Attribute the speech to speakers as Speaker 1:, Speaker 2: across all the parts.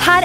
Speaker 1: her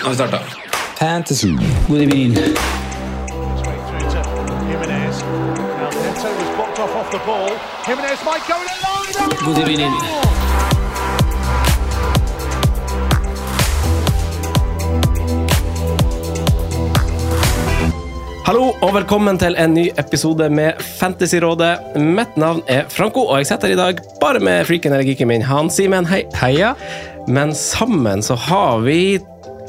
Speaker 2: Nå har vi starta. Fantasy.
Speaker 3: Hallo og velkommen til en ny episode med Fantasyrådet. Mitt navn er Franco, og jeg sitter i dag bare med freaken eller geeken min, Han Simen. Hei. Heia. Men sammen så har vi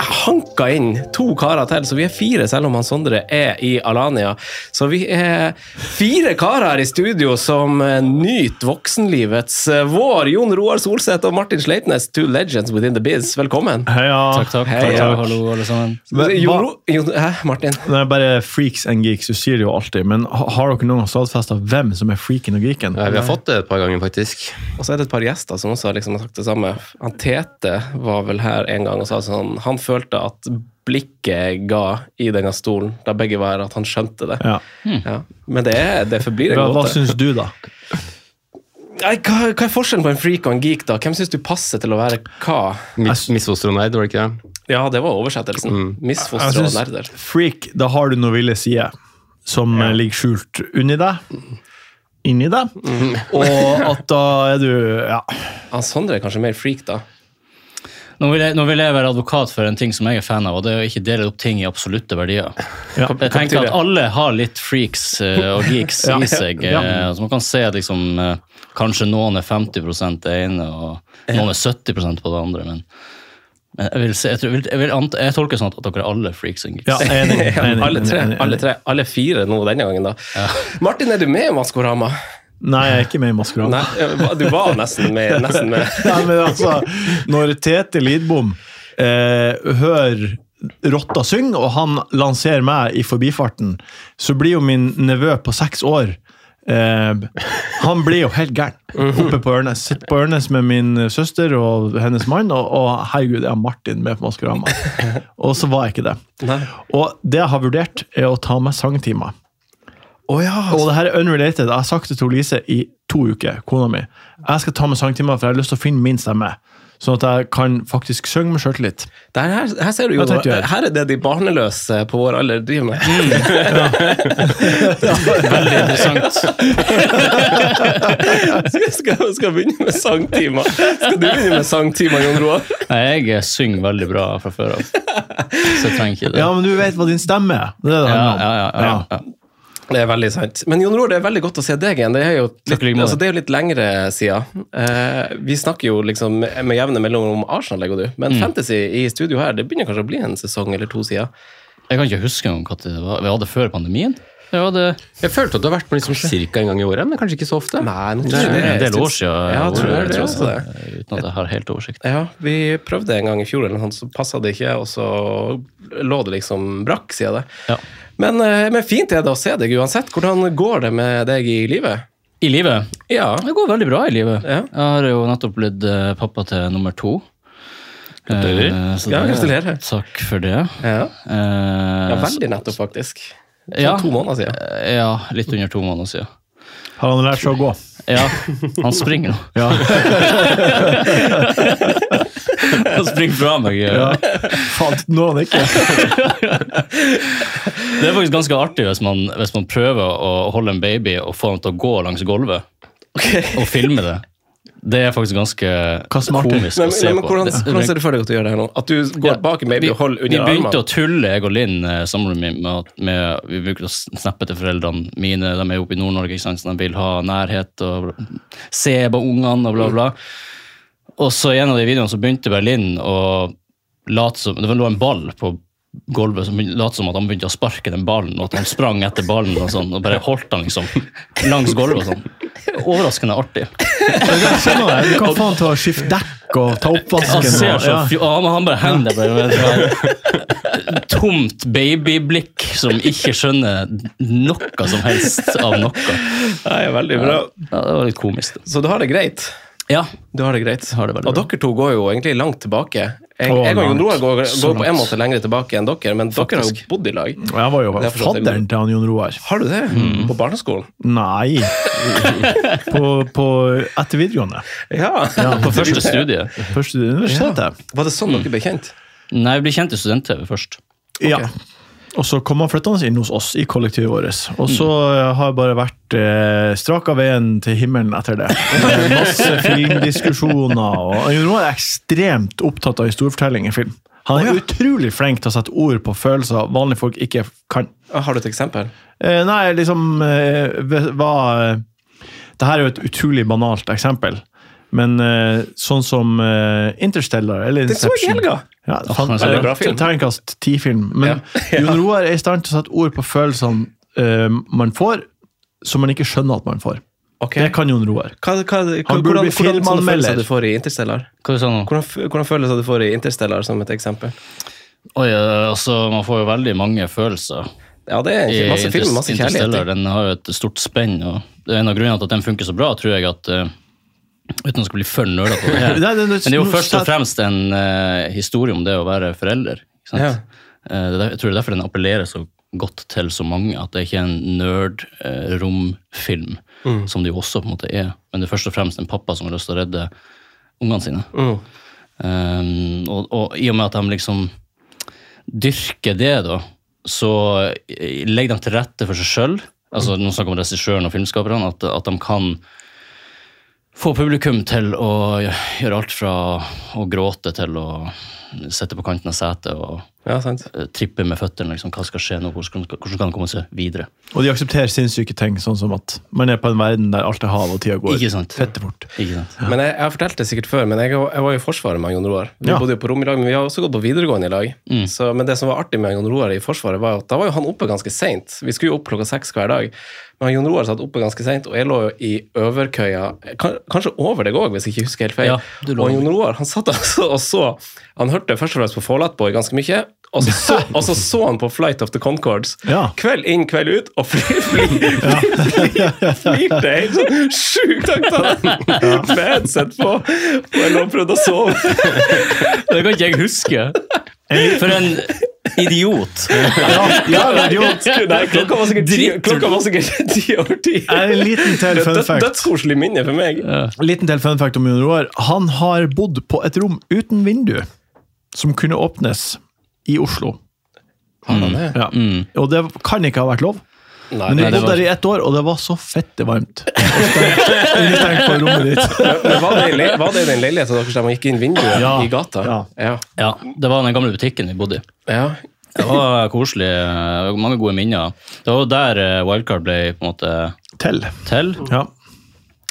Speaker 3: hanka inn to karer til, så vi er fire, selv om han Sondre er i Alania. Så vi er fire karer her i studio som eh, nyter voksenlivets eh, vår. Jon Roar Solseth og Martin Sleipnes, two legends within the biz. Velkommen.
Speaker 4: Heia.
Speaker 3: takk. Hei, ja.
Speaker 4: Hallo, alle sammen.
Speaker 3: Jon Ro... Jon- Hæ, Martin?
Speaker 4: Det er bare freaks and geeks, du sier det jo alltid. Men ha- har dere noen gang stadfesta hvem som er freaken og geeken?
Speaker 2: vi har fått det et par ganger, faktisk.
Speaker 3: Og så er det et par gjester som også har liksom sagt det samme. Han Tete var vel her en gang og sa sånn Han følte at blikket ga i denne stolen da begge var her, at han skjønte det.
Speaker 4: Ja.
Speaker 3: Ja. Men det, er- det forblir en
Speaker 4: Hva, hva
Speaker 3: gåte.
Speaker 4: syns du, da?
Speaker 3: Nei, Hva, hva er forskjellen på en freak og en geek, da? Hvem syns du passer til å være hva?
Speaker 2: Mis, Misfostronerd, var det ikke det?
Speaker 3: Ja, det var oversettelsen.
Speaker 4: Mm. Jeg
Speaker 3: Misfostre og
Speaker 4: synes
Speaker 3: nerder.
Speaker 4: freak, da har du noen ville sider som eh, ligger skjult under deg. Inni deg.
Speaker 3: Mm.
Speaker 4: Og at da er du Ja.
Speaker 3: Han Sondre er kanskje mer freak, da.
Speaker 5: Nå vil, jeg, nå vil jeg være advokat for en ting som jeg er fan av, og det er å ikke dele opp ting i absolutte verdier.
Speaker 4: Ja.
Speaker 5: Jeg tenker at alle har litt freaks eh, og geeks
Speaker 4: Ja.
Speaker 5: i seg. eh,
Speaker 4: Ja.
Speaker 5: Så man kan se at liksom, eh, kanskje noen er 50 det ene, og noen er 70 på det andre. Men, men jeg, vil se, jeg, tror, jeg, vil, jeg, vil anta, jeg tolker sånn at dere er alle freaks og geeks.
Speaker 4: ja enig, enig, enig,
Speaker 3: Alle tre,
Speaker 4: enig, enig.
Speaker 3: alle tre, alle fire nå denne gangen, da. Martin, er du med i Maskorama?
Speaker 4: Nei, jeg er ikke med i Maskorama.
Speaker 3: Nei, du var nesten med. Nesten med.
Speaker 4: Nei, men altså, når Tete Lidbom eh, hører rotta synge, og han lanserer meg i forbifarten, så blir jo min nevø på seks år eh, Han blir jo helt gæren oppe på Ørnes. Sitter på Ørnes med min søster og hennes mann, og, og herregud, jeg har Martin med på Maskorama. Og så var jeg ikke det.
Speaker 3: Nei.
Speaker 4: Og det jeg har vurdert, er å ta meg sangtimer. Og det her er unrelated. Jeg har sagt det til Lise i to uker, kona mi. Jeg skal ta med sangtimer, for jeg har lyst til å finne min stemme. Sånn at jeg kan faktisk synge med sjøltillit.
Speaker 3: Der, her, her ser du jo,
Speaker 4: Hva tenkte du her?
Speaker 3: her er det de barneløse på vår alder driver med.
Speaker 2: Mm.
Speaker 5: Veldig interessant.
Speaker 3: Skal, skal, skal begynne med sangtimer. Skal du begynne med sangtimer, Jon Roar?
Speaker 5: Nei, jeg eh, synger veldig bra fra før av, så jeg trenger ikke det.
Speaker 4: Ja, men du vet hva din stemme er. Det er det det
Speaker 5: Ja,
Speaker 4: handler om.
Speaker 5: ja, ja, ja, ja.
Speaker 3: Det er veldig sant. Men Jon Roar, det er veldig godt å se deg igjen. Det er jo litt,
Speaker 5: Takk i like måte.
Speaker 3: altså, det er jo litt lengre siden. Eh, vi snakker jo liksom med jevne mellomrom om Arsenal, jeg og du. Men
Speaker 2: Mm.
Speaker 3: fantasy i studio her, det begynner kanskje å bli en sesong eller to siden.
Speaker 5: Jeg kan ikke huske om hva det var. Vi hadde det før pandemien. Vi hadde...
Speaker 2: Jeg følte at du har vært med liksom cirka en gang i året, men kanskje ikke så ofte.
Speaker 3: Nei, nå
Speaker 5: Det
Speaker 3: tror jeg
Speaker 5: er
Speaker 3: det er
Speaker 5: en del
Speaker 3: stund-
Speaker 5: år siden.
Speaker 3: Ja, jeg tror det er det
Speaker 5: tross
Speaker 3: også.
Speaker 5: alt, Uten at jeg har helt oversikt.
Speaker 3: Ja, vi prøvde en gang i fjor, eller noe sånt, så passa det ikke, og så lå det liksom brakk, sier jeg det.
Speaker 5: Ja.
Speaker 3: Men, eh, men fint er det å se deg uansett. Hvordan går det med deg i livet?
Speaker 5: I livet?
Speaker 3: Ja.
Speaker 5: Det går veldig bra i livet.
Speaker 3: Ja.
Speaker 5: Jeg har jo nettopp blitt eh, pappa til nummer to.
Speaker 2: Gratulerer.
Speaker 5: Eh, så
Speaker 3: Ja,
Speaker 5: det-
Speaker 3: gratulerer.
Speaker 5: Takk for det.
Speaker 3: Ja,
Speaker 5: Eh,
Speaker 3: ja Veldig nettopp, faktisk. Det
Speaker 5: Ja.
Speaker 3: var to måneder siden.
Speaker 5: eh, ja, litt under to måneder siden.
Speaker 4: Har han lært seg å gå?
Speaker 5: Ja, han springer nå.
Speaker 4: Ja.
Speaker 5: Han springer fra meg. eh.
Speaker 4: ja. Faen, når han ikke
Speaker 5: Det er faktisk ganske artig hvis man, hvis man prøver å holde en baby og få han til å gå langs gulvet, og filme det. Det er faktisk ganske komisk
Speaker 3: Nei, men-
Speaker 5: å se
Speaker 3: nei, men
Speaker 5: på.
Speaker 3: hvordan,
Speaker 5: Det- det-
Speaker 3: hvordan ser du for deg at du gjør det her nå? At du går
Speaker 5: Ja,
Speaker 3: bak en baby og holder
Speaker 5: Vi
Speaker 3: under
Speaker 5: begynte
Speaker 3: armene?
Speaker 5: å tulle, jeg og Linn, eh, samboeren min, med at med, vi bruker å snappe til foreldrene mine. De er jo oppe i Nord-Norge, ikke sant, så de vil ha nærhet og bla- se på ungene og bla, bla. Og så i en av de videoene så begynte bare Linn å late som Det lå en ball på gulvet som begynte- late som at han begynte å sparke den ballen, og at han sprang etter ballen og sånn, og bare holdt han liksom langs gulvet og sånn. Overraskende artig.
Speaker 4: Jeg skjønner det. Du kan få han til å skifte dekk og ta
Speaker 5: Han
Speaker 4: oppvasken.
Speaker 5: ser
Speaker 4: Og,
Speaker 5: så
Speaker 4: ja.
Speaker 5: fj- ja, men han bare hender bare med det der tomt babyblikk som ikke skjønner noe som helst av noe.
Speaker 3: Nei, veldig bra.
Speaker 5: Ja, det var litt komisk. altså.
Speaker 3: Så du har det greit?
Speaker 5: Ja,
Speaker 3: Du har det greit.
Speaker 5: har det veldig
Speaker 3: Og
Speaker 5: bra.
Speaker 3: dere to går jo egentlig langt tilbake. Jeg,
Speaker 4: Å,
Speaker 3: jeg og
Speaker 4: langt.
Speaker 3: Jon Roar går,
Speaker 5: Så
Speaker 3: går på en
Speaker 5: langt.
Speaker 3: måte lenger tilbake enn dere, men dere har jo
Speaker 5: Faktisk.
Speaker 3: bodd i lag.
Speaker 4: Jeg var jo
Speaker 3: Det er for så vidt-
Speaker 4: fadderen til han Jon Roar.
Speaker 3: Har du det? På barneskolen?
Speaker 4: Nei. På, på etter videregående.
Speaker 3: Ja.
Speaker 5: På første studie.
Speaker 4: Først i universitetet.
Speaker 3: Var det sånn dere ble kjent?
Speaker 5: Nei, vi ble kjent i student-TV først.
Speaker 4: Ja. Og så kom han flyttende inn hos oss i kollektivet vårt. Og så
Speaker 3: Mm.
Speaker 4: eh, har jeg bare vært eh, strak av veien til himmelen etter det. Eh, Masse filmdiskusjoner. Og Jon Roar er ekstremt opptatt av historiefortelling i film. Han er utrolig flink til å sette ord på følelser vanlige folk ikke kan.
Speaker 3: Har du et eksempel?
Speaker 4: Eh, nei, liksom eh, ve- hva eh, Det her er jo et utrolig banalt eksempel. Men eh, sånn som eh, Interstellar eller
Speaker 3: Den så jeg i
Speaker 4: Inception
Speaker 3: helga.
Speaker 4: Ja, fan,
Speaker 5: den så jeg.
Speaker 4: eh,
Speaker 3: Bra film.
Speaker 4: Terningkast ti-film. Men Jon Roar er i stand til å sette ord på følelsene eh, man får, som man ikke skjønner at man får.
Speaker 3: Ok.
Speaker 4: Det kan Jon Roar.
Speaker 3: Hva, hva, hva,
Speaker 4: Han burde
Speaker 3: hvordan, hvordan
Speaker 4: bli
Speaker 3: sånne
Speaker 4: filmanmelder.
Speaker 3: følelser du får i Interstellar?
Speaker 5: Hva sa du nå?
Speaker 3: Hvordan, f- hvordan følelser du får i Interstellar, som et eksempel?
Speaker 5: Oi, eh, altså, man får jo veldig mange følelser.
Speaker 3: Ja, det er
Speaker 5: i
Speaker 3: egentlig masse film, masse
Speaker 5: Inter- Interstellar.
Speaker 3: kjærlighet.
Speaker 5: Den har jo et stort spenn, og det er en av grunnene til at den funker så bra, tror jeg at eh, Uten å skulle bli for nerdete på det her.
Speaker 4: Nei, det- det-
Speaker 5: Men det er jo
Speaker 4: nå
Speaker 5: først og
Speaker 4: sett-
Speaker 5: fremst en eh, historie om det å være forelder. Ikke sant?
Speaker 3: Ja.
Speaker 5: Eh, det er, der- jeg tror det er derfor den appellerer så godt til så mange, at det er ikke er en nerd-romfilm, som det jo også på en måte er. Men det er først og fremst en pappa som har lyst til å redde ungene sine. Um, og, og i og med at de liksom dyrker det, da, så eh, legger de til rette for seg sjøl, altså nå snakker vi om regissøren og filmskaperne, at, at de kan få publikum til å gjøre alt fra å gråte til å sitte på kanten av setet og
Speaker 3: Ja, sant.
Speaker 5: eh, trippe med føttene. Liksom, hva skal skje nå? Hvordan, hvordan kan det komme seg videre?
Speaker 4: Og de aksepterer sinnssyke ting, sånn som at man er på en verden der alt er hav og tida går
Speaker 5: Ikke sant?
Speaker 4: fette fort.
Speaker 5: Ikke sant?
Speaker 3: Men jeg, jeg har fortalt det sikkert før, men jeg, jeg var jo i Forsvaret med Jon Roar. Vi
Speaker 4: Ja.
Speaker 3: bodde jo på rom i lag, men vi har også gått på videregående i lag.
Speaker 5: Mm.
Speaker 3: Så, men det som var artig med Jon Roar i Forsvaret, var at da var jo han oppe ganske seint. Vi skulle jo opp klokka seks hver dag. Men Jon Roar satt oppe ganske seint, og jeg lå jo i overkøya, kan- kanskje over deg òg, hvis jeg ikke husker helt feil.
Speaker 5: Ja, du lå
Speaker 3: og
Speaker 5: over.
Speaker 3: Jon Roar han satt altså og så Han hørte først og fremst på Fallout Boy ganske mye. Og så, så, og så så han på Flight of the Concords.
Speaker 4: Ja.
Speaker 3: Kveld inn, kveld ut, og flir- flir- flir- flirte helt sånn sjukt høyt av den! Med headset på, og jeg lå og prøvde å sove.
Speaker 5: Det kan ikke jeg huske! For en idiot!
Speaker 4: Ja, jo,
Speaker 3: Nei, klokka var sikkert ti,
Speaker 5: Dritt.
Speaker 3: klokka var sikkert ti over ti.
Speaker 4: en liten
Speaker 3: Det
Speaker 4: til
Speaker 3: er
Speaker 4: fun
Speaker 3: et
Speaker 4: fact.
Speaker 3: dødskoselig minne for meg.
Speaker 4: Liten til fun fact om Jon Roar. Han har bodd på et rom uten vindu, som kunne åpnes i Oslo. Ja.
Speaker 5: mm,
Speaker 4: Og det kan ikke ha vært lov. Men vi
Speaker 5: nei, det
Speaker 4: bodde
Speaker 5: var-
Speaker 4: der i ett år, og det var så fette varmt. Og stengt- Innestengt på rommet ditt.
Speaker 3: Men var det, i le- var det i den leiligheten deres der man gikk inn vinduet
Speaker 4: Ja.
Speaker 3: i gata?
Speaker 4: Ja.
Speaker 3: Ja.
Speaker 5: Ja, det var den gamle butikken vi bodde i.
Speaker 3: ja.
Speaker 5: Det var koselig. eh, Mange gode minner. Det var jo der eh, Wildcard ble på en måte
Speaker 4: Til.
Speaker 5: til.
Speaker 4: Ja.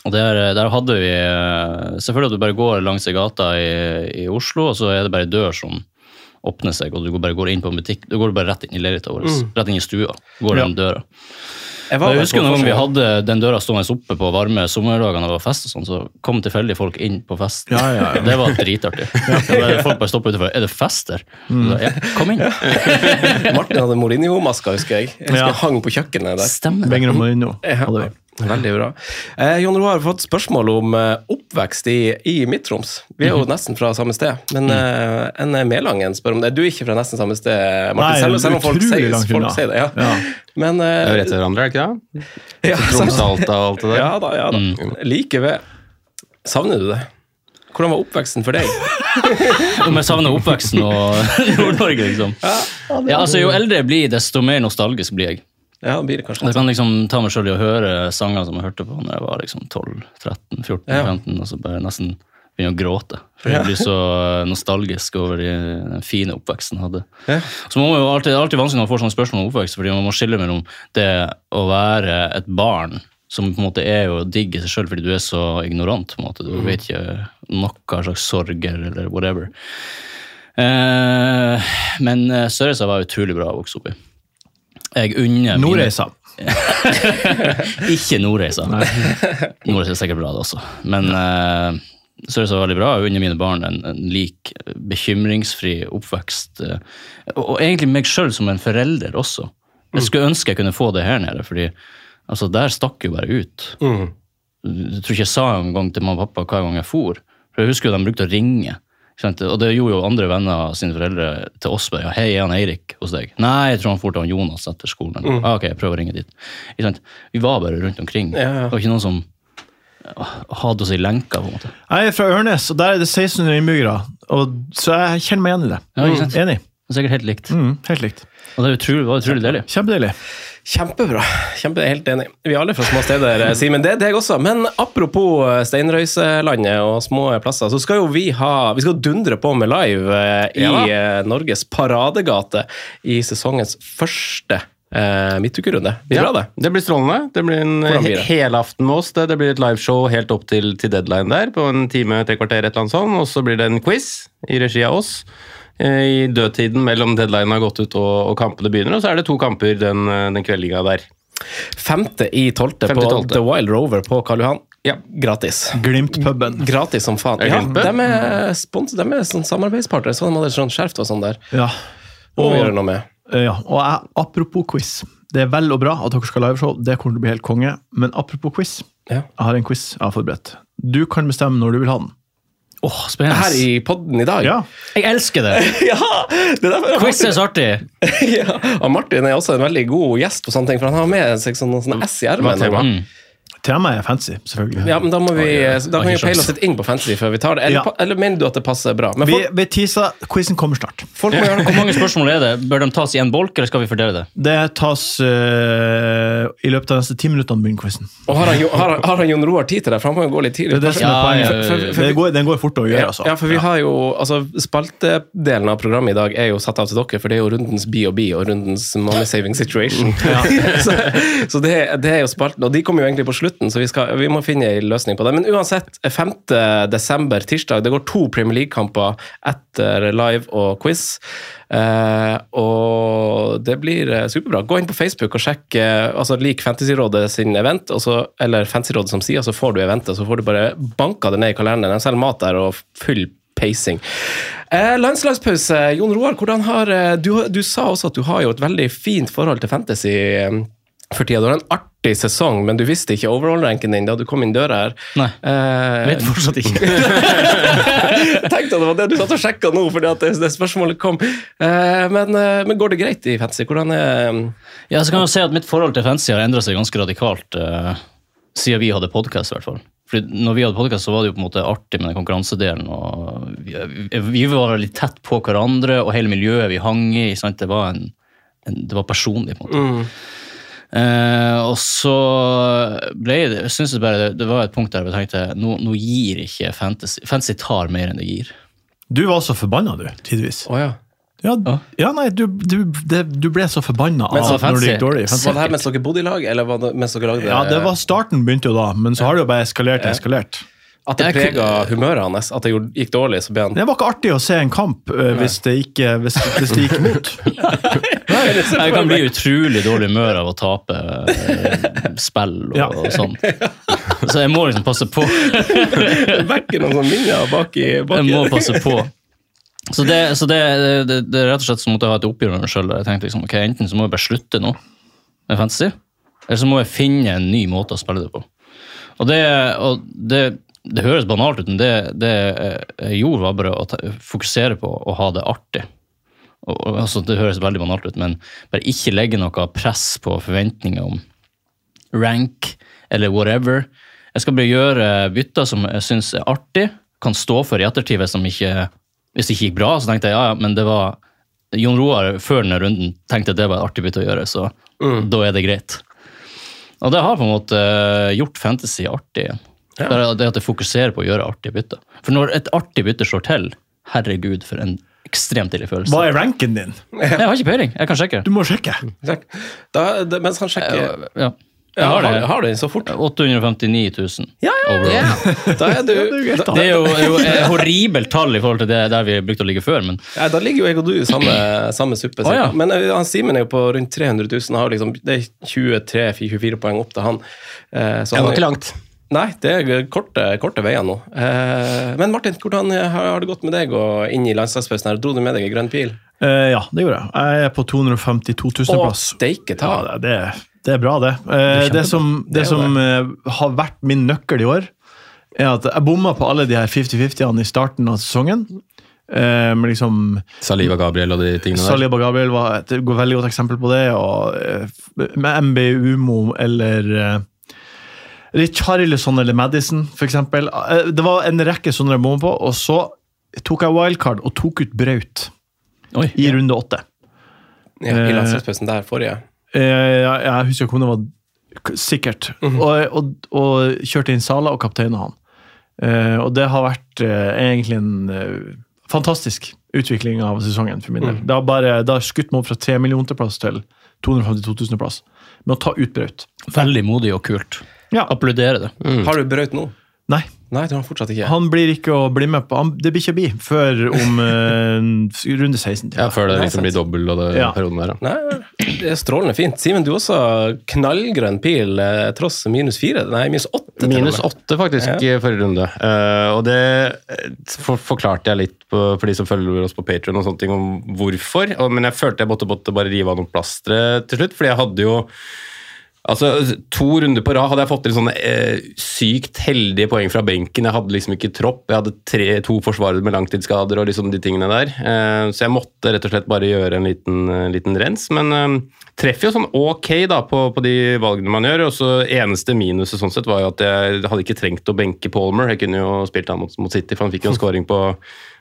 Speaker 5: Og der, der hadde vi eh, Selvfølgelig at du bare går langs i gata i, i Oslo, og så er det bare ei dør som åpner seg, og du går bare går inn på en butikk. Du går bare rett inn i leiligheta vår. Rett inn i stua. Går den døra.
Speaker 3: Jeg
Speaker 5: Og
Speaker 3: der
Speaker 5: Jeg husker
Speaker 3: på
Speaker 5: noen gang vi
Speaker 3: forsiden.
Speaker 5: hadde den døra stående oppe på varme sommerdagene det var fest, og sånn, så kom tilfeldig folk inn på festen.
Speaker 4: Ja, ja, ja.
Speaker 5: Det var dritartig. Det var- Folk bare stoppa utenfor. Er det fest der? Så da, Ja, kom inn.
Speaker 3: Martin hadde Mourinho-maska, husker jeg. Jeg husker
Speaker 4: Ja.
Speaker 3: jeg hang på kjøkkenet der.
Speaker 5: Stemmer det.
Speaker 4: Benger og Marino hadde vi.
Speaker 3: Ja, Veldig bra. Eh, Jon Roar har fått spørsmål om eh, oppvekst i, i Midt-Troms. Vi er jo nesten fra samme sted, men eh, en eh, Melangen spør om det. Du er ikke fra nesten samme sted, Martin,
Speaker 4: Nei,
Speaker 3: selv, selv om folk
Speaker 4: utrolig
Speaker 3: sier,
Speaker 4: langt
Speaker 3: folk
Speaker 4: unna.
Speaker 3: sier det. Ja.
Speaker 4: Ja.
Speaker 3: Men eh,
Speaker 2: Det er jo rett til hverandre, er det ikke det?
Speaker 3: ja, sant?
Speaker 2: Tromsø, Alta og alt det der.
Speaker 3: ja da, ja da. Like ved. Savner du det? Hvordan var oppveksten for deg?
Speaker 5: Om jeg savner oppveksten og Nord-Norge, liksom. Ja, altså, jo eldre jeg blir, desto mer nostalgisk blir jeg.
Speaker 3: Ja, det blir det kanskje
Speaker 5: Jeg kan liksom ta meg selv i å høre sanger som jeg hørte på når jeg var liksom
Speaker 3: Ja.
Speaker 5: 12-13-14-15, og så bare nesten begynne å gråte. For jeg blir så eh, nostalgisk over de, den fine oppveksten jeg hadde.
Speaker 3: Ja.
Speaker 5: Så må man jo alltid, Det er alltid vanskelig når man får sånne spørsmål om oppvekst, fordi man må skille mellom det å være et barn, som på en måte er jo digg i seg sjøl fordi du er så ignorant. på en måte. Du
Speaker 3: Mm.
Speaker 5: vet ikke noe slags sorger eller whatever. Eh, men eh, Sørreisa var utrolig bra å vokse opp i. Jeg unner mine-
Speaker 4: Nordreisa.
Speaker 5: ikke Nordreisa. Nordreisa er sikkert bra, det også. Men uh, Sørreisa var veldig bra. Jeg unner mine barn en, en lik eh, bekymringsfri oppvekst. eh, og, og egentlig meg sjøl som en forelder også. Jeg skulle ønske jeg kunne få det her nede, fordi altså, der stakk jo bare ut. Jeg tror ikke jeg sa en gang til mamma og pappa hver gang jeg for. For jeg husker jo de brukte å ringe. ikke sant? Og det gjorde jo andre venner av sine foreldre til oss. bare, ja, 'Hei, er han Eirik hos deg?' 'Nei, jeg tror han for til han Jonas etter skolen.'
Speaker 3: Mm.
Speaker 5: Ah, 'Ok, jeg prøver å ringe dit.' Ikke sant? Vi var bare rundt omkring.
Speaker 3: ja.
Speaker 5: Det var ikke noen som ah, hadde oss i lenka, på en måte.
Speaker 4: Jeg er fra Ørnes, og der er det 1600 innbyggere. Og, så jeg kjenner meg igjen i det.
Speaker 5: Ja, ikke sant?
Speaker 4: Enig.
Speaker 5: Det er sikkert helt likt.
Speaker 4: Mm, helt likt.
Speaker 5: Og det er utrolig, var utrolig deilig.
Speaker 4: Kjempedeilig.
Speaker 3: Kjempebra. Kjempe, helt enig. Vi er alle fra små steder, eh, Simen. Det er deg også. Men apropos eh, steinrøyselandet og små plasser, så skal jo vi ha Vi skal dundre på med live eh, i
Speaker 5: Ja da.
Speaker 3: eh, Norges paradegate i sesongens første eh, midtukerunde. Blir bra, det.
Speaker 2: Det blir strålende. Det blir en
Speaker 3: Hvordan blir det?
Speaker 2: he- helaften med oss. Det, det blir et liveshow helt opp til, til deadline der, på en time, tre kvarter, et eller annet sånt. Og så blir det en quiz i regi av oss. eh, I dødtiden mellom deadline har gått ut og, og kampene begynner, og så er det to kamper den, eh, den kveldinga der.
Speaker 3: Femte i tolvte
Speaker 2: Femte i
Speaker 3: på
Speaker 2: tolvte.
Speaker 3: The Wild Rover på Karl Johan.
Speaker 2: Ja.
Speaker 3: Gratis.
Speaker 4: Glimt-puben.
Speaker 3: Gratis som faen.
Speaker 2: Er det
Speaker 3: Ja,
Speaker 2: Glimt?
Speaker 3: de er, spons, de er sånn samarbeidspartnere, så de hadde sånn skjerf og sånn der.
Speaker 4: Ja.
Speaker 3: Det må vi
Speaker 4: Og-
Speaker 3: gjøre noe med.
Speaker 4: Eh, Ja, og jeg, apropos quiz. Det er vel og bra at dere skal ha liveshow, det kommer til å bli helt konge. Men apropos quiz,
Speaker 3: Ja.
Speaker 4: jeg har en quiz jeg har forberedt. Du kan bestemme når du vil ha den.
Speaker 5: Åh, spennende.
Speaker 3: Her i podden i dag.
Speaker 4: Ja,
Speaker 5: Jeg elsker det!
Speaker 3: Ja, det er derfor
Speaker 5: Quiz er så artig!
Speaker 3: ja. Og Martin er også en veldig god gjest på sånne ting, for han har med seg sånn, sånn S i ermet.
Speaker 2: tema?
Speaker 4: Mm.
Speaker 3: nå.
Speaker 4: Temaet er fancy, selvfølgelig.
Speaker 3: Ja, men da må vi, da
Speaker 5: Har
Speaker 3: kan vi
Speaker 5: ikke
Speaker 3: peile
Speaker 5: sjans.
Speaker 3: oss litt inn på fantasy før vi tar det. Eller,
Speaker 4: Ja.
Speaker 3: pa- eller mener du at det passer bra? Men
Speaker 4: Vi,
Speaker 3: folk,
Speaker 4: vi teaser, quizen kommer snart.
Speaker 3: folk må gjøre
Speaker 5: Mm. Hvor
Speaker 3: noe.
Speaker 5: mange spørsmål er det? Bør de tas i en bolk, eller skal vi fordele det?
Speaker 4: Det tas eh, i løpet av de neste ti minuttene begynner quizen.
Speaker 3: Og har han, Jo- har, han- har han Jon Roar tid til det? For han må jo gå litt
Speaker 4: Det er
Speaker 3: tidlig.
Speaker 4: det som er
Speaker 5: Ja,
Speaker 4: poenget.
Speaker 5: ja, ja, ja.
Speaker 4: Det går, den går fort å gjøre,
Speaker 3: Ja,
Speaker 4: altså.
Speaker 3: ja, for vi har jo, altså Spaltedelen av programmet i dag er jo satt av til dere, for det er jo rundens BOB og rundens Money Saving Situation. så så det, det er jo spalten, og de kommer jo egentlig på slutten, så vi, skal, vi må finne en løsning på det. Men uansett, 5. desember, tirsdag, det går to Premier League-kamper etter live og quiz. Eh, og det blir eh, superbra. Gå inn på Facebook og sjekk eh, altså lik Fantasyrådet sin event, og så, eller Fantasyrådet som sier, så får du eventet, så får du bare banka det ned i kalenderen. De selger mat der og full pacing. Eh, landslagspause. Jon Roar, hvordan har eh, du, har- du sa også at du har jo et veldig fint forhold til fantasy eh, for tida. Du har en artig sesong, men du visste ikke overall-ranken din da du kom inn døra her.
Speaker 5: Nei.
Speaker 3: Eh,
Speaker 5: Jeg vet fortsatt ikke.
Speaker 3: jeg tenkte at det var det du satt og sjekka nå, fordi at det, det spørsmålet kom. Eh, men, eh, men går det greit i fantasy? Hvordan er
Speaker 5: Ja, så kan jeg si at Mitt forhold til fancy har endra seg ganske radikalt eh, siden vi hadde podkast. Fordi når vi hadde podcast, så var det jo på en måte artig med den konkurransedelen. og Vi, vi var litt tett på hverandre, og hele miljøet vi hang i. Sant? Det, var en, en, det var personlig, på en måte. Eh, og så ble det, jeg synes det, bare, det, det var et punkt der jeg tenkte nå, nå gir ikke fantasy Fantasy tar mer enn det gir.
Speaker 4: Du var så forbanna, du, tidvis.
Speaker 3: Å ja.
Speaker 4: Ja, ja nei, du, du, det, du ble så forbanna
Speaker 5: Men så
Speaker 4: av når det
Speaker 5: fancy.
Speaker 4: gikk dårlig. i fantasy.
Speaker 3: Var det her mens dere bodde i lag, eller var det mens dere lagde
Speaker 4: Ja, det var Starten begynte jo da, men så har det jo bare eskalert og eskalert.
Speaker 3: At det
Speaker 5: Jeg
Speaker 3: prega humøret hans? At det gjorde- gikk dårlig, så ble han
Speaker 4: Det var ikke artig å se en kamp eh, hvis det gikk, eh, hvis, hvis det gikk imot.
Speaker 5: Jeg kan bli utrolig dårlig i humør av å tape eh, spill og,
Speaker 4: Ja.
Speaker 5: og sånn. Så jeg må liksom passe på.
Speaker 3: vekken noen sånne minner bak i
Speaker 5: Jeg må passe på. Så det, så det, det, det er rett og slett så måtte jeg ha et oppgjør med meg sjøl. Liksom, ok, enten så må jeg bare slutte nå med fantasy, eller så må jeg finne en ny måte å spille det på. Og det, og det, det høres banalt ut, men det, det jeg gjorde, var bare å ta, fokusere på å ha det artig. Og, og, altså, det høres veldig banalt ut, men bare ikke legge noe press på forventninger om rank eller whatever. Jeg skal bare gjøre bytter som jeg syns er artig, kan stå for i ettertid hvis de ikke hvis det ikke gikk bra. Så tenkte jeg ja, ja, men det var Jon Roar før denne runden tenkte at det var et artig bytte å gjøre, så
Speaker 4: Mm.
Speaker 5: da er det greit. Og det har på en måte eh, gjort fantasy artig igjen. Det er det at jeg fokuserer på å gjøre artige bytter. For når et artig bytte slår til, herregud, for en ekstremt deilig følelse.
Speaker 4: Hva er ranken din?
Speaker 5: Jeg har ikke peiling. Jeg kan sjekke.
Speaker 4: Du må sjekke.
Speaker 3: Takk. Da, det, mens han sjekker
Speaker 5: Ja.
Speaker 3: ja,
Speaker 5: Jeg har det.
Speaker 3: Har du den så fort?
Speaker 5: 859 000
Speaker 3: Ja, ja,
Speaker 5: overall.
Speaker 3: Da, er du,
Speaker 4: er greit,
Speaker 3: da,
Speaker 4: da.
Speaker 5: Det er jo, er jo et horribelt tall i forhold til det der vi brukte å ligge før, men
Speaker 3: ja, da ligger jo jeg og du i samme, samme suppe.
Speaker 5: Å, ja.
Speaker 3: cirka. Men eh, han Simen er jo på rundt 300 000. Har liksom, det er 23-24 poeng opp til han. Eh, så
Speaker 2: Det
Speaker 3: han-
Speaker 2: var ikke langt.
Speaker 3: Nei, det er korte, korte veier nå. Eh, men Martin, hvordan har, har det gått med deg og inn i landslagspausen? her? Dro du med deg en grønn pil?
Speaker 4: Eh, ja, det gjorde jeg. Jeg er på 252 000 plass.
Speaker 3: steike ta!
Speaker 4: Ja, det, det er bra, det. Eh, det som, det
Speaker 3: Det er jo
Speaker 4: som eh, har vært min nøkkel i år, er at jeg bomma på alle de her 50-50-ene i starten av sesongen. Eh, men liksom
Speaker 2: Saliva Gabriel og de tingene der.
Speaker 4: Saliba Gabriel var et go- veldig godt eksempel på det. Og, eh, med MB Umo eller eh, Richarlison eller Madison, f.eks. Eh, det var en rekke sånne jeg bomma på, og så tok jeg wildcard og tok ut Braut
Speaker 5: oi.
Speaker 4: i runde åtte.
Speaker 3: Ja, I landslagspausen der forrige.
Speaker 4: Eh, Jeg, jeg husker ikke om det var k- sikkert. og, og, og kjørte inn Sala og kapteina han. Eh, og det har vært eh, egentlig en eh, fantastisk utvikling av sesongen for min del. Det har bare det har skutt meg opp fra 3 millioner til plass til 252 000 plass. Med å ta ut Braut.
Speaker 5: Veldig modig og kult.
Speaker 4: Ja.
Speaker 5: Applaudere det.
Speaker 2: Mm.
Speaker 3: Har du brøyt nå?
Speaker 4: Nei,
Speaker 3: Nei, det har han fortsatt ikke.
Speaker 4: han blir ikke å bli med på han, Det blir ikke bi før om eh, runde 16.
Speaker 2: Ja,
Speaker 4: tror jeg.
Speaker 2: før det
Speaker 3: Nei,
Speaker 2: liksom
Speaker 3: sant.
Speaker 2: blir dobbel og det
Speaker 4: Ja.
Speaker 2: perioden der. Ja.
Speaker 3: Nei, det er strålende fint. Simen, du også knallgrønn pil, eh, tross minus fire. Nei, minus åtte. til og
Speaker 2: Minus
Speaker 3: med.
Speaker 2: åtte, faktisk, i forrige runde. Eh, og det eh, for, forklarte jeg litt på, for de som følger oss på Patreon og sånne ting, om hvorfor. Og, men jeg følte jeg måtte, måtte bare rive av noen plastre til slutt, fordi jeg hadde jo Altså, To runder på rad hadde jeg fått til sånne eh, sykt heldige poeng fra benken. Jeg hadde liksom ikke tropp. Jeg hadde tre, to forsvarere med langtidsskader og liksom de tingene der. Eh, så jeg måtte rett og slett bare gjøre en liten, eh, liten rens. Men eh, treffer jo sånn ok da på, på de valgene man gjør. Og så eneste minuset sånn sett var jo at jeg hadde ikke trengt å benke Palmer. Jeg kunne jo spilt han mot, mot City, for han fikk jo en scoring på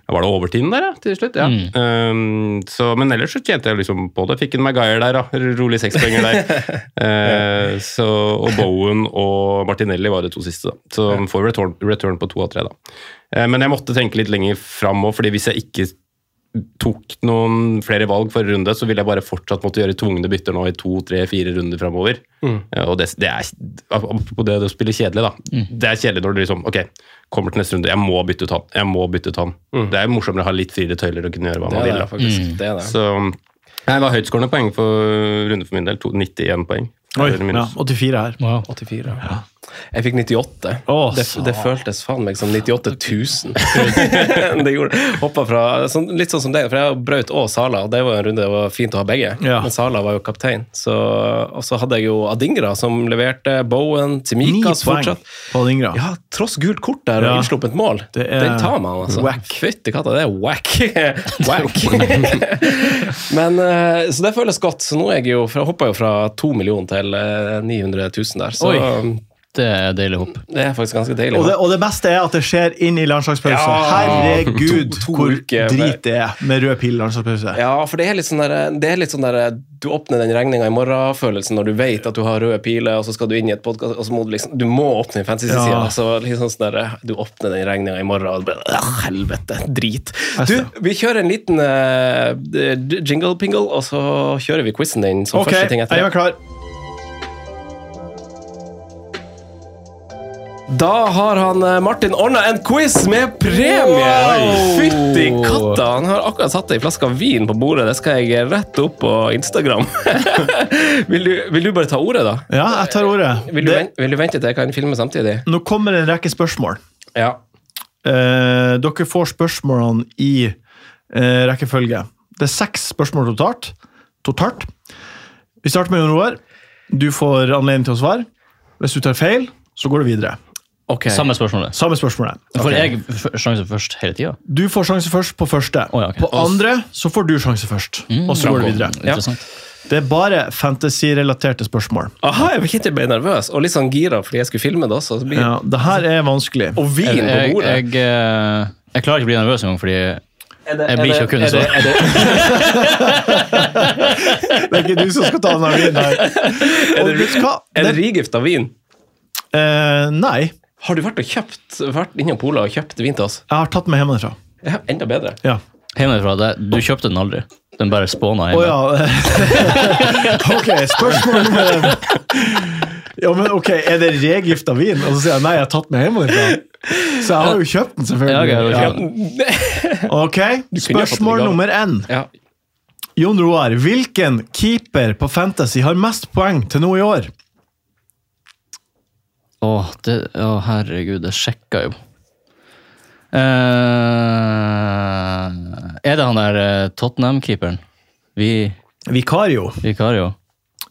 Speaker 2: var det overtiden der, ja, til slutt? Ja. Um, så, men ellers så tjente jeg liksom på det. Fikk en Maguire der, da. Rolig sekspoenger der. Eh, så, og Bowen og Martinelli var de to siste, da. Så han får return, return på to av tre, da. Eh, men jeg måtte tenke litt lenger fram òg, fordi hvis jeg ikke tok noen flere valg forrige runde, så ville jeg bare fortsatt måtte gjøre tvungne bytter nå i to, tre, fire runder framover.
Speaker 3: Mm.
Speaker 2: Og det, det er Apropos det å spille kjedelig, da.
Speaker 3: Mm.
Speaker 2: Det er kjedelig når du liksom Ok, kommer til neste runde, jeg må bytte ut han. Jeg må bytte ut han. Det er morsommere å ha litt friere tøyler og kunne gjøre hva
Speaker 3: Mm. Det
Speaker 2: man
Speaker 3: er
Speaker 2: vil.
Speaker 3: det,
Speaker 2: da.
Speaker 3: faktisk.
Speaker 4: Mm.
Speaker 3: Det er det.
Speaker 2: Så Nei, det var høytskårende poeng for runde for min del. To- 91 poeng.
Speaker 4: Oi,
Speaker 2: Eller
Speaker 4: ja,
Speaker 2: minus.
Speaker 4: 84 her.
Speaker 3: 84, ja. Jeg fikk 98.
Speaker 4: Å,
Speaker 3: det, det føltes faen meg som 98 000. det gjorde hoppet fra, sånn, Litt sånn som deg, for jeg har Braut og Sala, og det var jo en runde det var fint å ha begge.
Speaker 4: Ja.
Speaker 3: Men Sala var jo kaptein. Så, og så hadde jeg jo Adingra som leverte, Bowen,
Speaker 4: Ni
Speaker 3: Timikas
Speaker 4: poeng
Speaker 3: fortsatt.
Speaker 4: på Dingra.
Speaker 3: Ja, tross gult kort der og
Speaker 4: Ja.
Speaker 3: innsluppet mål.
Speaker 4: Det er
Speaker 3: Den tar man, altså.
Speaker 4: whack.
Speaker 3: Fytti katta, det er whack. whack. Men, eh, så det føles godt. Så nå er jeg jo, for jeg hoppa jo fra 2 millioner til eh, 900 000 der. Så
Speaker 5: Det er deilig hopp.
Speaker 3: det er faktisk ganske deilig.
Speaker 4: Og det, og det beste er at det skjer inn i landslagspause.
Speaker 3: Ja.
Speaker 4: Herregud,
Speaker 3: To- to
Speaker 4: hvor
Speaker 3: uker med-
Speaker 4: drit det er med rød pil i landslagspause.
Speaker 3: ja, for det er litt sånn der, det er litt sånn der du åpner den regninga i morgen-følelsen når du vet at du har røde piler, og så skal du inn i et podkast, og så må du liksom Du må åpne den fancy sida.
Speaker 4: Ja.
Speaker 3: Altså, liksom sånn der, du åpner den regninga i morgen, og du bare «Åh, Helvete, drit. Du, vi kjører en liten eh, jingle-pingle, og så kjører vi quizen din som
Speaker 4: Ok,
Speaker 3: første ting
Speaker 4: jeg
Speaker 3: etter
Speaker 4: var
Speaker 3: det.
Speaker 4: klar.
Speaker 3: Da har han eh, Martin ordna en quiz med premie! Fytti katta! Han har akkurat satt ei flaske vin på bordet. Det skal jeg rette opp på Instagram. vil, du, vil du bare ta ordet, da?
Speaker 4: Ja, jeg tar ordet.
Speaker 3: Eh, Vil du,
Speaker 4: Det,
Speaker 3: vente, vil du vente til jeg kan filme samtidig?
Speaker 4: nå kommer en rekke spørsmål.
Speaker 3: Ja.
Speaker 4: Eh, dere får spørsmålene i eh, rekkefølge. Det er seks spørsmål totalt. totalt. Vi starter med Jon Roar. Du får anledning til å svare. Hvis du tar feil, så går du videre.
Speaker 3: Ok.
Speaker 5: Samme spørsmålet.
Speaker 4: Samme spørsmålet.
Speaker 5: Får jeg f- sjansen først hele tida?
Speaker 4: Du får sjanse først på første.
Speaker 5: Å, ja, ok. Mm,
Speaker 4: På andre så får du sjanse først. Mm. og så går du videre.
Speaker 5: Interessant.
Speaker 4: Det er bare fantasy-relaterte spørsmål.
Speaker 3: Aha, jeg kjente jeg ble nervøs og litt sånn gira fordi jeg skulle filme det også. Så blir...
Speaker 4: Ja, det her er vanskelig.
Speaker 3: Og vin
Speaker 5: Jeg,
Speaker 3: på
Speaker 5: jeg,
Speaker 2: eh,
Speaker 3: bordet!
Speaker 5: jeg, eh, jeg klarer ikke å bli nervøs engang, fordi Jeg blir ikke å kunne svare.
Speaker 3: Er det,
Speaker 4: Det er ikke du som skal ta den av vinen her.
Speaker 3: er det,
Speaker 4: Og vet du hva?
Speaker 3: er det rigift av vin?
Speaker 4: Eh, nei, jeg
Speaker 3: Har du vært og kjøpt vært innom Pola og kjøpt vin til oss?
Speaker 4: har tatt meg hjemmefra.
Speaker 3: Ja, enda bedre.
Speaker 4: Ja.
Speaker 5: Hjemmefra, det, du kjøpte den aldri. Den bare spåna
Speaker 4: Å
Speaker 5: hjemme.
Speaker 4: ja. Ok, spørsmål nummer én. Ja, men ok, Er det regift av vin? Og så sier jeg nei, jeg har tatt meg hjemmefra. Så jeg har jo kjøpt den,
Speaker 5: Ja, jeg har
Speaker 4: selvfølgelig.
Speaker 5: jo
Speaker 4: Ja.
Speaker 5: kjøpt den.
Speaker 4: Ok,
Speaker 3: kunne jo fått den i
Speaker 4: Spørsmål
Speaker 3: gave.
Speaker 4: nummer én.
Speaker 3: Ja.
Speaker 4: Jon Roar, hvilken keeper på Fantasy har mest poeng til nå i år?
Speaker 5: Å, det, å herregud, det sjekka jo. Eh, er det han der eh, Tottenham-keeperen? Vi,
Speaker 4: Vikario.
Speaker 5: Vikario?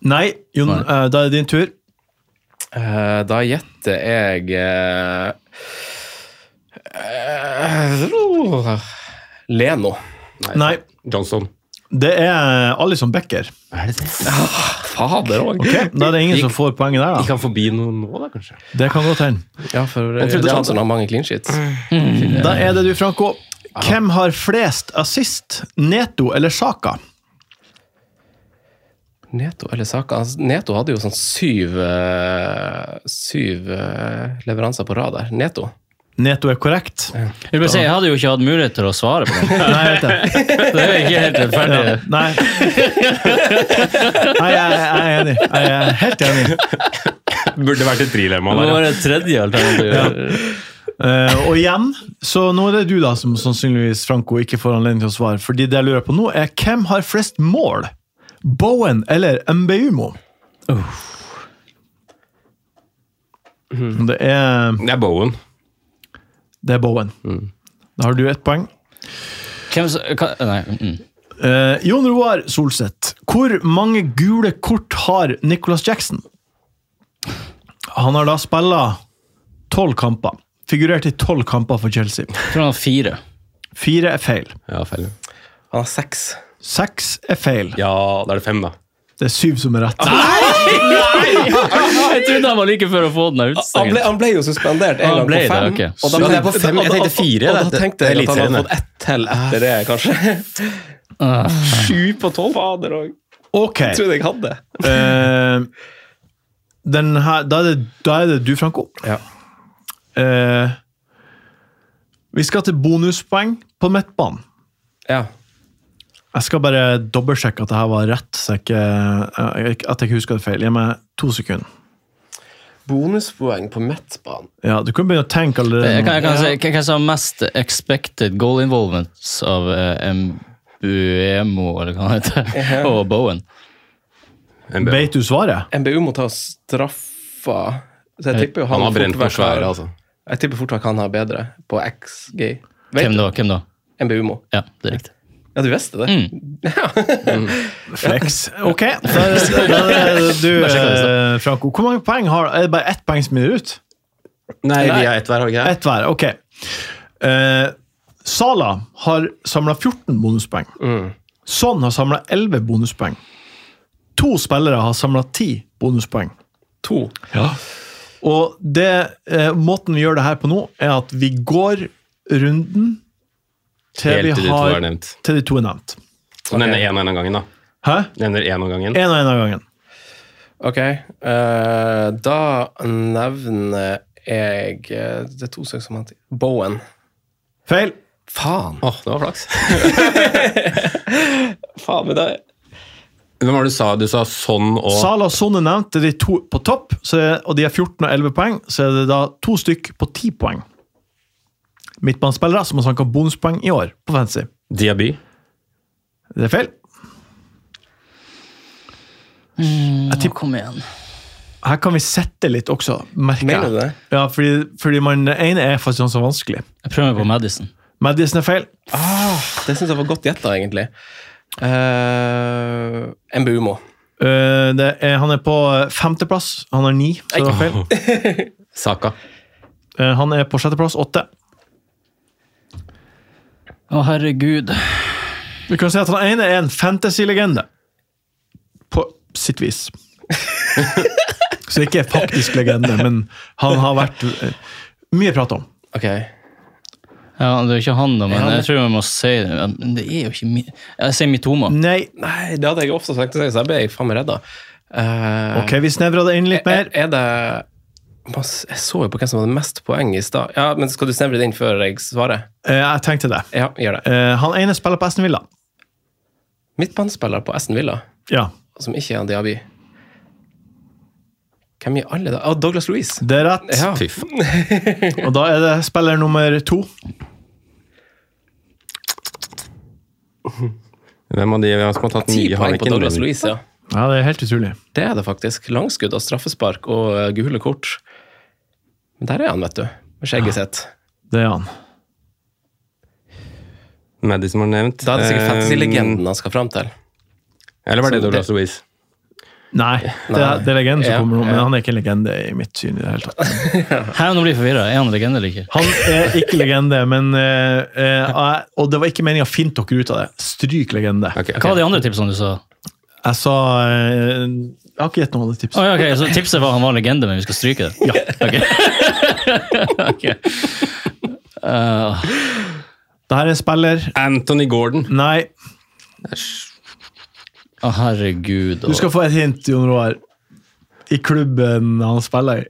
Speaker 4: Nei, Jon,
Speaker 5: Nei.
Speaker 4: eh, da er det din tur.
Speaker 3: Eh, da gjetter jeg eh, eh, Leno.
Speaker 4: Nei,
Speaker 2: Johnson.
Speaker 4: det er Alison Becker.
Speaker 3: Fader òg!
Speaker 4: Ok, Da er det ingen
Speaker 2: Gikk-
Speaker 4: som får poenget der,
Speaker 2: De
Speaker 4: da.
Speaker 2: kan forbi noen nå, da, kanskje?
Speaker 4: Det kan godt hende.
Speaker 3: Ja, for eh,
Speaker 4: Jeg trodde
Speaker 3: det er han
Speaker 4: han-
Speaker 3: som har mange clean sheets.
Speaker 4: Da er det du, Franco. Hvem har flest assist? Neto eller Saka?
Speaker 3: Neto eller Saka Altså, Neto hadde jo sånn syv eh, Syv eh, leveranser på rad der. Neto.
Speaker 4: Neto er korrekt.
Speaker 5: Jeg, vil bare si, jeg hadde jo ikke hatt mulighet til å svare på den.
Speaker 4: Nei, jeg vet det.
Speaker 5: Så det er jo ikke helt rettferdig.
Speaker 4: Ja, nei. nei, jeg jeg er enig. Jeg er helt enig.
Speaker 2: Burde vært et trilemma
Speaker 5: Det må
Speaker 2: der. ja.
Speaker 5: være et tredje alternativ.
Speaker 4: Eh, og igjen, så nå er det du da som sannsynligvis Franco ikke får anledning til å svare. Fordi det jeg lurer på nå, er hvem har flest mål? Bowen eller MBUMO? Det, er,
Speaker 2: Det er Bowen.
Speaker 4: det er Bowen. Da har du ett poeng.
Speaker 5: Hvem som hva, Nei. Mm.
Speaker 4: Eh, Jon Roar Solseth, hvor mange gule kort har Nicholas Jackson? Han har da spilla tolv kamper. Figurert i tolv kamper for Chelsea.
Speaker 5: Jeg tror han har fire.
Speaker 4: Fire er feil.
Speaker 2: Ja, feil.
Speaker 3: Han har seks.
Speaker 4: Seks er feil.
Speaker 2: Ja, da er det fem, da.
Speaker 4: Det er syv som er rett.
Speaker 3: Ah,
Speaker 5: Jeg trodde han var like før å få den av
Speaker 3: Han ble,
Speaker 5: utstengen.
Speaker 3: han ble jo suspendert en
Speaker 5: Han
Speaker 3: gang på
Speaker 5: ble det,
Speaker 3: fem.
Speaker 5: ok.
Speaker 3: Og da
Speaker 2: Så
Speaker 3: tenkte
Speaker 2: jeg på fem,
Speaker 3: og da-
Speaker 2: jeg tenkte fire,
Speaker 3: Og da
Speaker 2: det-
Speaker 3: tenkte jeg
Speaker 2: det er
Speaker 3: at han hadde
Speaker 2: eliteserien,
Speaker 3: fått ett til etter det, kanskje.
Speaker 5: Ah.
Speaker 3: Sju på tolv. Fader òg.
Speaker 4: Ok.
Speaker 3: Trodde jeg hadde.
Speaker 4: Eh, den her, da, er det, da er det du, Franco.
Speaker 3: Ja.
Speaker 4: Eh, vi skal til bonuspoeng på midtbanen.
Speaker 3: Ja.
Speaker 4: Jeg skal bare dobbeltsjekke at det her var rett, så jeg ikke, jeg- at jeg ikke husker det feil. Gi meg to sekunder.
Speaker 3: Bonuspoeng på midtbanen.
Speaker 4: Ja, Du kan begynne å tenke allerede
Speaker 5: Eh, Jeg kan,
Speaker 4: nå.
Speaker 5: jeg kan si, hvem hvem som har mest expected goal involvements av eh, Mbuemo, eller hva han heter, og Bowen?
Speaker 2: En B.
Speaker 4: Vet du svaret?
Speaker 3: MBU må ta straffa. Så jeg tipper jo
Speaker 2: Eh, Han har
Speaker 3: fort
Speaker 2: brent
Speaker 3: vekk
Speaker 2: på svære,
Speaker 3: har-
Speaker 2: altså.
Speaker 3: Jeg tipper fort vekk han har bedre på XG. Vet
Speaker 5: Hvem
Speaker 3: du?
Speaker 5: da? Hvem da?
Speaker 3: MBU må.
Speaker 5: Ja, det er riktig.
Speaker 3: Ja, du visste det?
Speaker 4: Flex. Ok, da er det- da er det du, eh, Franco. Hvor mange poeng har Er det bare ett poeng som gir ut?
Speaker 2: Nei, vi er ett hver, har vi ikke det?
Speaker 4: Ett hver, ok. Eh, Sala har samla 14 bonuspoeng.
Speaker 2: Mm.
Speaker 4: Son har samla 11 bonuspoeng. To spillere har samla 10 bonuspoeng.
Speaker 3: To.
Speaker 4: Og det, eh, måten vi gjør det her på nå, er at vi går runden til,
Speaker 2: Helt til
Speaker 4: vi
Speaker 2: de to er
Speaker 4: har,
Speaker 2: nevnt.
Speaker 4: til de to er nevnt.
Speaker 2: Så nevner én og én av gangen, da.
Speaker 4: Hæ?
Speaker 2: Nevner én om gangen.
Speaker 4: Én og én av gangen.
Speaker 3: Ok. eh, da nevner jeg eh, Det er to stykker som heter Bowen.
Speaker 4: Feil.
Speaker 3: Faen!
Speaker 2: Åh, det var flaks.
Speaker 3: Faen men det
Speaker 2: Hvem var det du sa? Du sa sånn og
Speaker 4: Sala og Sonne nevnte de to på topp, så er, og de har 14 og 11 poeng. Så er det da to stykk på 10 poeng. Midtbanespillere som har sanka bonuspoeng i år på fancy.
Speaker 2: Diaby.
Speaker 4: Det er feil. Jeg tipper-
Speaker 5: Kom igjen.
Speaker 4: Her kan vi sette litt også, merker
Speaker 3: Mener du
Speaker 4: jeg.
Speaker 3: det?
Speaker 4: Ja, fordi, fordi man, det ene er faktisk sånn så vanskelig.
Speaker 5: Jeg prøver meg på Madison.
Speaker 4: Madison er feil.
Speaker 3: Det syns jeg var godt gjetta, egentlig. Uh, MBU må.
Speaker 4: Øh, det er, han er på øh, femteplass. Han har ni, så det var feil.
Speaker 2: Saka.
Speaker 4: Øh, han er på sjetteplass, åtte.
Speaker 5: Å, herregud.
Speaker 4: Vi kan si at han ene er en fantasy-legende. På sitt vis. Så ikke faktisk legende, men han har vært eh, mye prat om.
Speaker 3: Ok.
Speaker 5: Ja, det er jo ikke han, da, men
Speaker 3: Ja,
Speaker 5: jeg tror jeg må si det. Men det er jo ikke mi... Jeg sier Mitoma.
Speaker 4: Nei.
Speaker 3: Nei, det hadde jeg ofte sagt til seg, så jeg ble jeg faen meg redd da. Eh,
Speaker 4: Ok, vi snevra det inn litt
Speaker 3: er,
Speaker 4: mer.
Speaker 3: er det Man s- Jeg så jo på hvem som hadde mest poeng i stad. Ja, men skal du snevre det inn før jeg svarer?
Speaker 4: Eh, Jeg tenkte det.
Speaker 3: Ja, gjør det.
Speaker 4: Eh, Han ene spiller på Aston Villa.
Speaker 3: Midtbanespiller på Aston Villa,
Speaker 4: Ja,
Speaker 3: som ikke er Diaby. Hvem i alle da? Å, Douglas Louise.
Speaker 4: det er rett.
Speaker 3: Ja.
Speaker 2: Fy faen.
Speaker 4: Og da er det spiller nummer to.
Speaker 2: Hvem av de som har tatt
Speaker 3: Ti
Speaker 2: mye, har
Speaker 3: poeng på
Speaker 2: ikke
Speaker 3: Douglas
Speaker 2: nevnt?
Speaker 3: Louise, ja.
Speaker 4: Ja, det er helt utrolig.
Speaker 3: Det er det faktisk. Langskudd og straffespark og eh, gule kort. Men der er han, vet du. Med skjegget sitt.
Speaker 4: Det er han.
Speaker 2: Med de som har nevnt.
Speaker 3: Da er det sikkert
Speaker 2: Eh,
Speaker 3: fantasy-legenden han skal fram til.
Speaker 2: Eller var det
Speaker 3: Så det-
Speaker 2: Douglas Louise?
Speaker 4: Nei, det er, det er legenden som
Speaker 3: Ja,
Speaker 4: kommer nå, men
Speaker 3: ja.
Speaker 4: han er ikke en legende i mitt syn. i det hele tatt.
Speaker 5: Her nå blir jeg forvirra. Er han legende eller ikke?
Speaker 4: Han er ikke legende, men eh, eh, jeg- Og det var ikke meninga å finne dere ut av det. Stryk legende.
Speaker 2: Ok, ok.
Speaker 5: Hva var de andre tipsene du sa?
Speaker 4: Jeg sa eh, Jeg har ikke gitt noen andre tips.
Speaker 5: Å, ja, ok, Så tipset var han var legende, men vi skal stryke det? Ja. Eh,
Speaker 4: Dette er en spiller
Speaker 2: Anthony Gordon.
Speaker 4: Nei,
Speaker 5: Å, herregud.
Speaker 4: du skal få et hint, Jon Roar. I klubben han spiller i.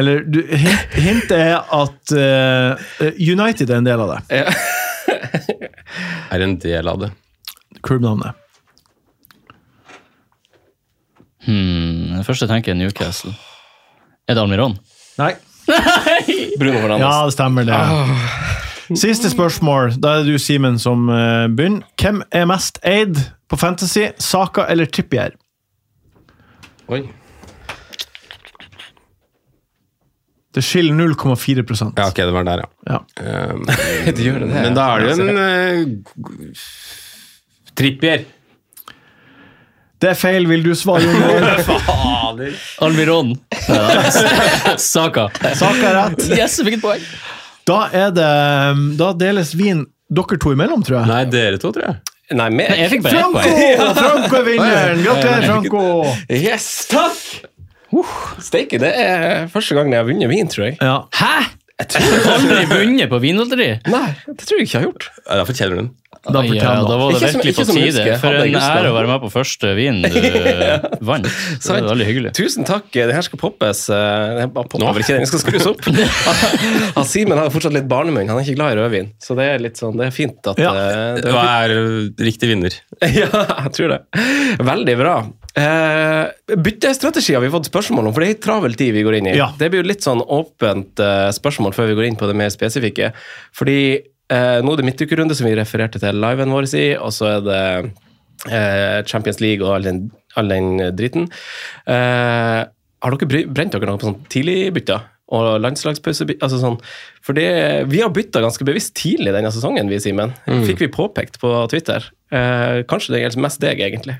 Speaker 4: Eller du, hint, Hintet er at eh, United er en del av det.
Speaker 2: Er en del av det.
Speaker 4: Klubbnavnet.
Speaker 5: Hmm, det første jeg tenker er Newcastle. Er det Almiron?
Speaker 4: Nei.
Speaker 3: Bruno Fernandes.
Speaker 4: Ja, det stemmer det. Siste spørsmål. Da er det du, Simen, som eh, begynner. Hvem er mest eid på Fantasy? Saka eller Trippier?
Speaker 2: Oi.
Speaker 4: Det skiller 0,4
Speaker 2: Ja, ok, det var der, ja.
Speaker 4: Ja.
Speaker 2: Um,
Speaker 3: Du gjør det, det.
Speaker 2: men da er det jo en eh, Trippier.
Speaker 4: Det er feil, vil du svare? Jon Roar?
Speaker 5: Almiron! Saka.
Speaker 4: Saka er rett.
Speaker 5: Yes, jeg fikk et poeng!
Speaker 4: Da, er det, um, da deles vin dere to imellom, tror jeg.
Speaker 2: Nei, dere to, tror jeg.
Speaker 3: Nei, meg.
Speaker 5: Nei, jeg fikk bare ett
Speaker 4: Franco!
Speaker 5: poeng.
Speaker 4: Franco er vinneren! Gratulerer, Franco!
Speaker 3: Yes, takk! Steike, det er første gangen jeg har vunnet vin, tror jeg.
Speaker 4: Ja.
Speaker 5: Hæ?! Jeg har aldri vunnet på vinlotteri!
Speaker 3: Nei, det tror jeg ikke jeg har gjort.
Speaker 2: Ja, Da fortjener du den.
Speaker 4: Da fortjener
Speaker 5: Ja,
Speaker 4: han.
Speaker 5: da var det
Speaker 3: Ikke som-
Speaker 5: virkelig
Speaker 3: ikke
Speaker 5: på
Speaker 3: som jeg
Speaker 5: tide.
Speaker 3: husker.
Speaker 5: For
Speaker 3: Hadde jeg
Speaker 5: en
Speaker 3: lyst til.
Speaker 5: ære å være med på første vin du vant. Det
Speaker 3: Sant.
Speaker 5: er veldig hyggelig.
Speaker 3: Tusen takk. Det her skal poppes. eh, Den bare popper vel ikke, den skal skrus opp. Han Simen har jo fortsatt litt barnemunn. Han er ikke glad i rødvin. Så det er litt sånn, det er fint at
Speaker 4: Ja.
Speaker 3: eh, det
Speaker 2: Hva er eh, riktig vinner?
Speaker 3: Ja, jeg tror det. Veldig bra. Eh, byttestrategier har vi fått spørsmål om, for det er en travel tid vi går inn i.
Speaker 4: Ja.
Speaker 3: Det blir jo litt sånn åpent eh, spørsmål før vi går inn på det mer spesifikke. Fordi eh, nå er det midtukerunde, som vi refererte til liven vår i, og så er det eh, Champions League og all den, all den driten. Eh, har dere bry- brent dere noe på sånn tidligbytter? Og landslagspause altså sånn. For det, vi har bytta ganske bevisst tidlig denne sesongen, vi, Simen.
Speaker 4: Mm.
Speaker 3: Fikk vi påpekt på Twitter. Eh, kanskje det gjelder mest deg, egentlig.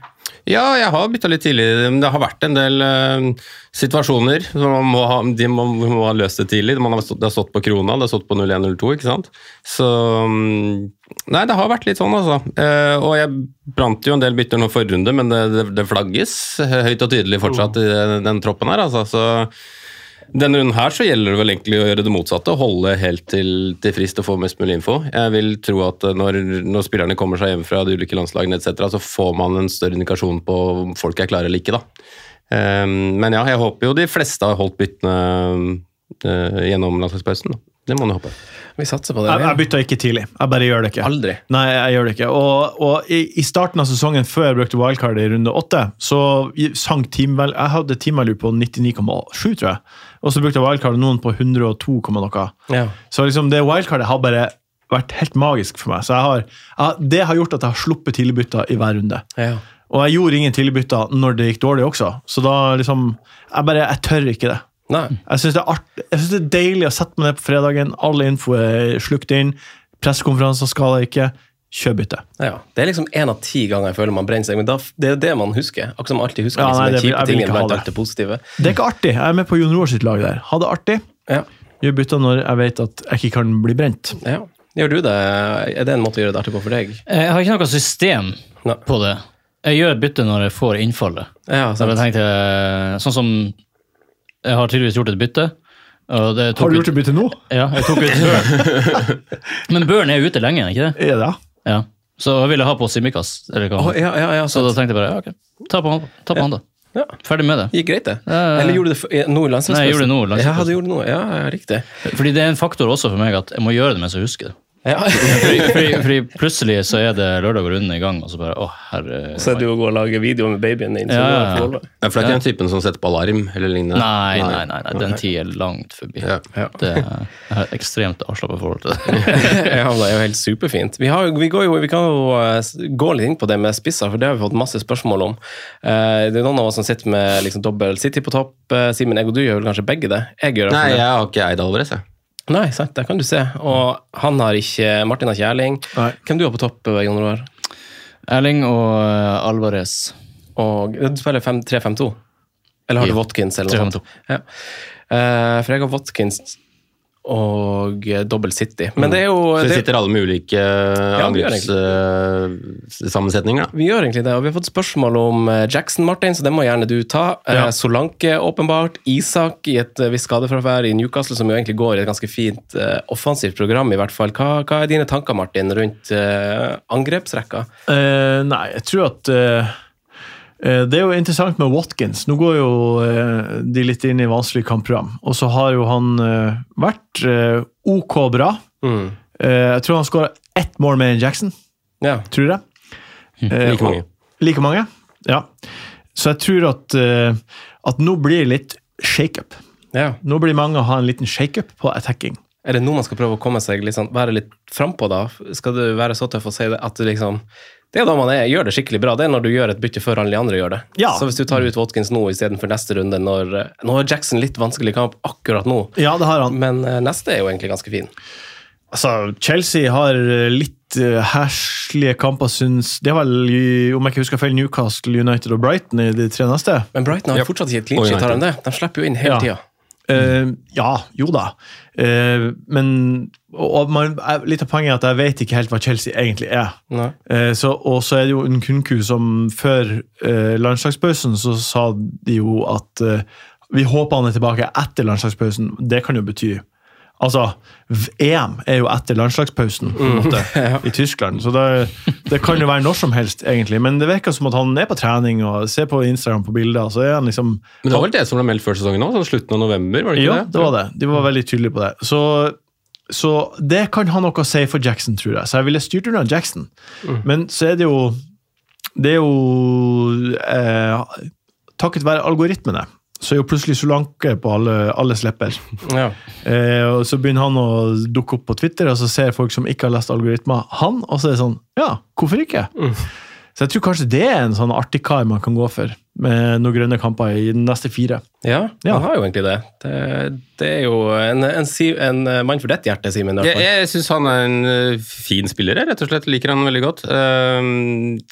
Speaker 2: Ja, jeg har bytta litt tidlig. men Det har vært en del eh, situasjoner som man må ha, de må, må ha løst det tidlig. Man har stått, det har stått på krona, det har stått på 0102, ikke sant. Så mm, Nei, det har vært litt sånn, altså. Eh, og jeg brant jo en del bytter nå forrige runde, men det, det, det flagges høyt og tydelig fortsatt i den, den troppen her, altså. Så denne runden her så gjelder det vel egentlig å gjøre det motsatte. Holde helt til, til frist og få mest mulig info. Jeg vil tro at eh, når, når spillerne kommer seg hjem fra de ulike landslagene etc., så får man en større indikasjon på om folk er klare eller ikke, da. Ehm, men ja, jeg håper jo de fleste har holdt byttene eh, gjennom landslagspausen. da. Det må man håpe.
Speaker 3: Vi satser på det.
Speaker 4: Jeg, jeg bytta ikke tidlig. Jeg bare gjør det ikke.
Speaker 3: Aldri.
Speaker 4: Nei, jeg gjør det ikke. Og, og i, i starten av sesongen, før jeg brukte wildcard i runde åtte, så i- sank teamvalue Jeg hadde teamvalue på 99,7, tror jeg. Og så brukte jeg wildcard noen på 102, komma noe.
Speaker 3: Ja.
Speaker 4: Så liksom det wildcardet har bare vært helt magisk for meg. Så jeg har, jeg, det har gjort at jeg har sluppet tidligbytter i hver runde.
Speaker 3: Ja.
Speaker 4: Og jeg gjorde ingen tidligbytter når det gikk dårlig også. Så da liksom Jeg bare Jeg tør ikke det.
Speaker 3: Nei.
Speaker 4: Jeg syns det, er art- jeg synes det er deilig å sette meg ned på fredagen. Alle info er slukt inn. Pressekonferanser skal jeg ikke. Kjør bytte.
Speaker 3: Ja. Det er liksom én av ti ganger jeg føler man brenner seg, men da, det er jo det man husker. Akkurat som man alltid husker
Speaker 4: Ja,
Speaker 3: liksom,
Speaker 4: nei, det
Speaker 3: den
Speaker 4: vil-
Speaker 3: kjipe
Speaker 4: jeg vil
Speaker 3: tingen
Speaker 4: ikke ha
Speaker 3: blant
Speaker 4: det.
Speaker 3: alt det positive.
Speaker 4: Det er ikke artig. Jeg er med på Jon Roar sitt lag der. Ha det artig.
Speaker 3: Ja.
Speaker 4: Gjør bytter når jeg vet at jeg ikke kan bli brent.
Speaker 3: ja. Gjør du det? Er det en måte å gjøre det artig på for deg?
Speaker 5: Eh, Jeg har ikke noe system
Speaker 3: Nei.
Speaker 5: på det. Jeg gjør et bytte når jeg får innfallet.
Speaker 3: Ja,
Speaker 5: Så eh,
Speaker 3: sant.
Speaker 5: jeg tenkte, sånn som jeg har tydeligvis gjort et bytte, Og det tok
Speaker 4: Har du
Speaker 5: ut-
Speaker 4: gjort det byttet nå?
Speaker 5: Ja, jeg tok ut Børn. Men Børn er ute lenge, ikke det?
Speaker 4: Er det?
Speaker 5: Ja. Så jeg ville ha på Simikaz. Eller hva?
Speaker 3: Å, ja, ja, ja,
Speaker 5: så da tenkte jeg bare ja, ok, ta på han, ta på han da.
Speaker 3: Ja.
Speaker 5: Ferdig med det.
Speaker 3: Gikk greit, det.
Speaker 5: Ja, ja.
Speaker 3: Eller gjorde du det f- eh, nå i landslagspausen?
Speaker 5: Nei, jeg gjorde det nå i landslagspausen.
Speaker 3: Ja, du gjorde det nå. Ja, ja, riktig.
Speaker 5: Eh, Fordi det er en faktor også for meg at jeg må gjøre det mens jeg husker det.
Speaker 3: Ja.
Speaker 5: Fordi, fordi, fordi plutselig så er det lørdag og runden i gang, og så bare å herre
Speaker 3: Så er det jo å gå og lage video med babyen din. så
Speaker 5: Ja,
Speaker 3: du
Speaker 5: ja,
Speaker 3: har
Speaker 5: ja.
Speaker 3: forhold.
Speaker 2: Ja, for det er ikke den typen som setter på alarm eller lignende?
Speaker 5: Nei, nei, nei, nei, den tid er langt forbi.
Speaker 2: Ja.
Speaker 5: Det er, jeg har et ekstremt avslappa forhold til det.
Speaker 3: ja, men det er jo helt superfint. Vi, har, jo- vi, går jo, vi kan jo eh, s- gå litt inn på det med spisser, for det har vi fått masse spørsmål om. Eh, det er noen av oss som sitter med liksom, dobbel City på topp. Eh, Simen, jeg og du gjør vel kanskje begge det? Jeg gjør det.
Speaker 2: Nei, jeg har ikke eid Alvarez, jeg.
Speaker 3: Nei, sant, der kan du se. Og han har ikke Martin har ikke Erling.
Speaker 4: Nei.
Speaker 3: Hvem du har på topp, eh, Jon Roar?
Speaker 5: Erling og eh, Alvarez.
Speaker 3: Og eh, du spiller fem- 3-5-2? Eller har du
Speaker 5: Ja.
Speaker 3: Watkins eller noe
Speaker 5: 3-5-2.
Speaker 3: sånt? Ja. Eh, for jeg har Watkins og eh, dobbel City. Men det er jo
Speaker 2: Mm. Så vi
Speaker 3: det-
Speaker 2: sitter alle med ulike
Speaker 3: gjør
Speaker 2: angrepssammensetninger, da.
Speaker 3: Vi gjør egentlig det, og vi har fått spørsmål om eh, Jackson, Martin, så det må gjerne du ta. Eh,
Speaker 4: Ja.
Speaker 3: Solanke, åpenbart. Isak i et eh, visst skadefravær i Newcastle, som jo egentlig går i et ganske fint eh, offensivt program, i hvert fall. Hva, hva er dine tanker, Martin, rundt eh, angrepsrekka?
Speaker 4: Eh, nei, jeg tror at eh, eh, Det er jo interessant med Watkins. Nå går jo eh, de litt inn i vanskelig kampprogram. Og så har jo han eh, vært eh, OK bra.
Speaker 2: Mm.
Speaker 4: Eh, jeg tror han skåra ett mål mer enn Jackson,
Speaker 3: Ja.
Speaker 4: tror jeg.
Speaker 2: Hm,
Speaker 4: Eh,
Speaker 2: Like mange.
Speaker 4: Like mange, ja. Så jeg tror at, eh, at nå blir det litt shakeup.
Speaker 3: ja.
Speaker 4: Nå blir mange å ha en liten shakeup på attacking.
Speaker 3: Er det nå man skal prøve å komme seg litt sånn, være litt frampå, da? Skal du være så tøff og si det at du liksom det er da man er, gjør det skikkelig bra. Det er når du gjør et bytte før alle de andre gjør det.
Speaker 4: Ja.
Speaker 3: Så hvis du tar ut Watkins nå istedenfor neste runde, når, eh, nå har Jackson litt vanskelig kamp akkurat nå,
Speaker 4: Ja, det har han.
Speaker 3: Men eh, neste er jo egentlig ganske fin.
Speaker 4: Altså, Chelsea har eh, litt eh, herslige kamper, syns Det er vel, i- om jeg ikke husker feil, Newcastle, United og Brighton i de tre neste?
Speaker 3: Men Brighton har
Speaker 2: Ja.
Speaker 3: fortsatt ikke et clean
Speaker 2: Og
Speaker 3: sheet, har de
Speaker 2: United.
Speaker 3: det? De slipper jo inn hele
Speaker 4: Ja.
Speaker 3: tida.
Speaker 4: Eh, ja, jo da. Eh, men og og man, jeg- litt av poenget er at jeg vet ikke helt hva Chelsea egentlig er.
Speaker 3: Nei.
Speaker 4: Eh, så, og så er det jo Nkunku som før eh, landslagspausen så sa de jo at eh, vi håper han er tilbake etter landslagspausen. Det kan jo bety Altså, v- EM er jo etter landslagspausen på en
Speaker 3: Mm.
Speaker 4: måte, i Tyskland, så det, det kan jo være når som helst, egentlig. Men det virker som at han er på trening og ser på Instagram på bilder, så er han liksom
Speaker 2: Men det var vel det som ble meldt før sesongen òg? Sånn slutten av november? var det ikke
Speaker 4: ja, det var det. De var veldig tydelige på det. Så, så det kan ha noe å si for Jackson, tror jeg. Så jeg ville styrt unna Jackson. Men så er det jo Det er jo eh, Takket være algoritmene, så er jo plutselig Solanke på alle, alles lepper.
Speaker 3: Ja.
Speaker 4: Eh, og så begynner han å dukke opp på Twitter, og så ser folk som ikke har lest algoritmer, han, og så er det sånn Ja, hvorfor ikke? Så jeg tror kanskje det er en sånn artig kar man kan gå for, med noen grønne kamper i de neste fire.
Speaker 3: Ja,
Speaker 4: Ja.
Speaker 3: han har jo egentlig det. Det, det er jo en, en, si- en eh, mann for ditt hjerte, Simen. i hvert
Speaker 2: Jeg,
Speaker 3: fall.
Speaker 2: jeg syns han er en eh, fin spiller, jeg, rett og slett. Liker han veldig godt. Ehm,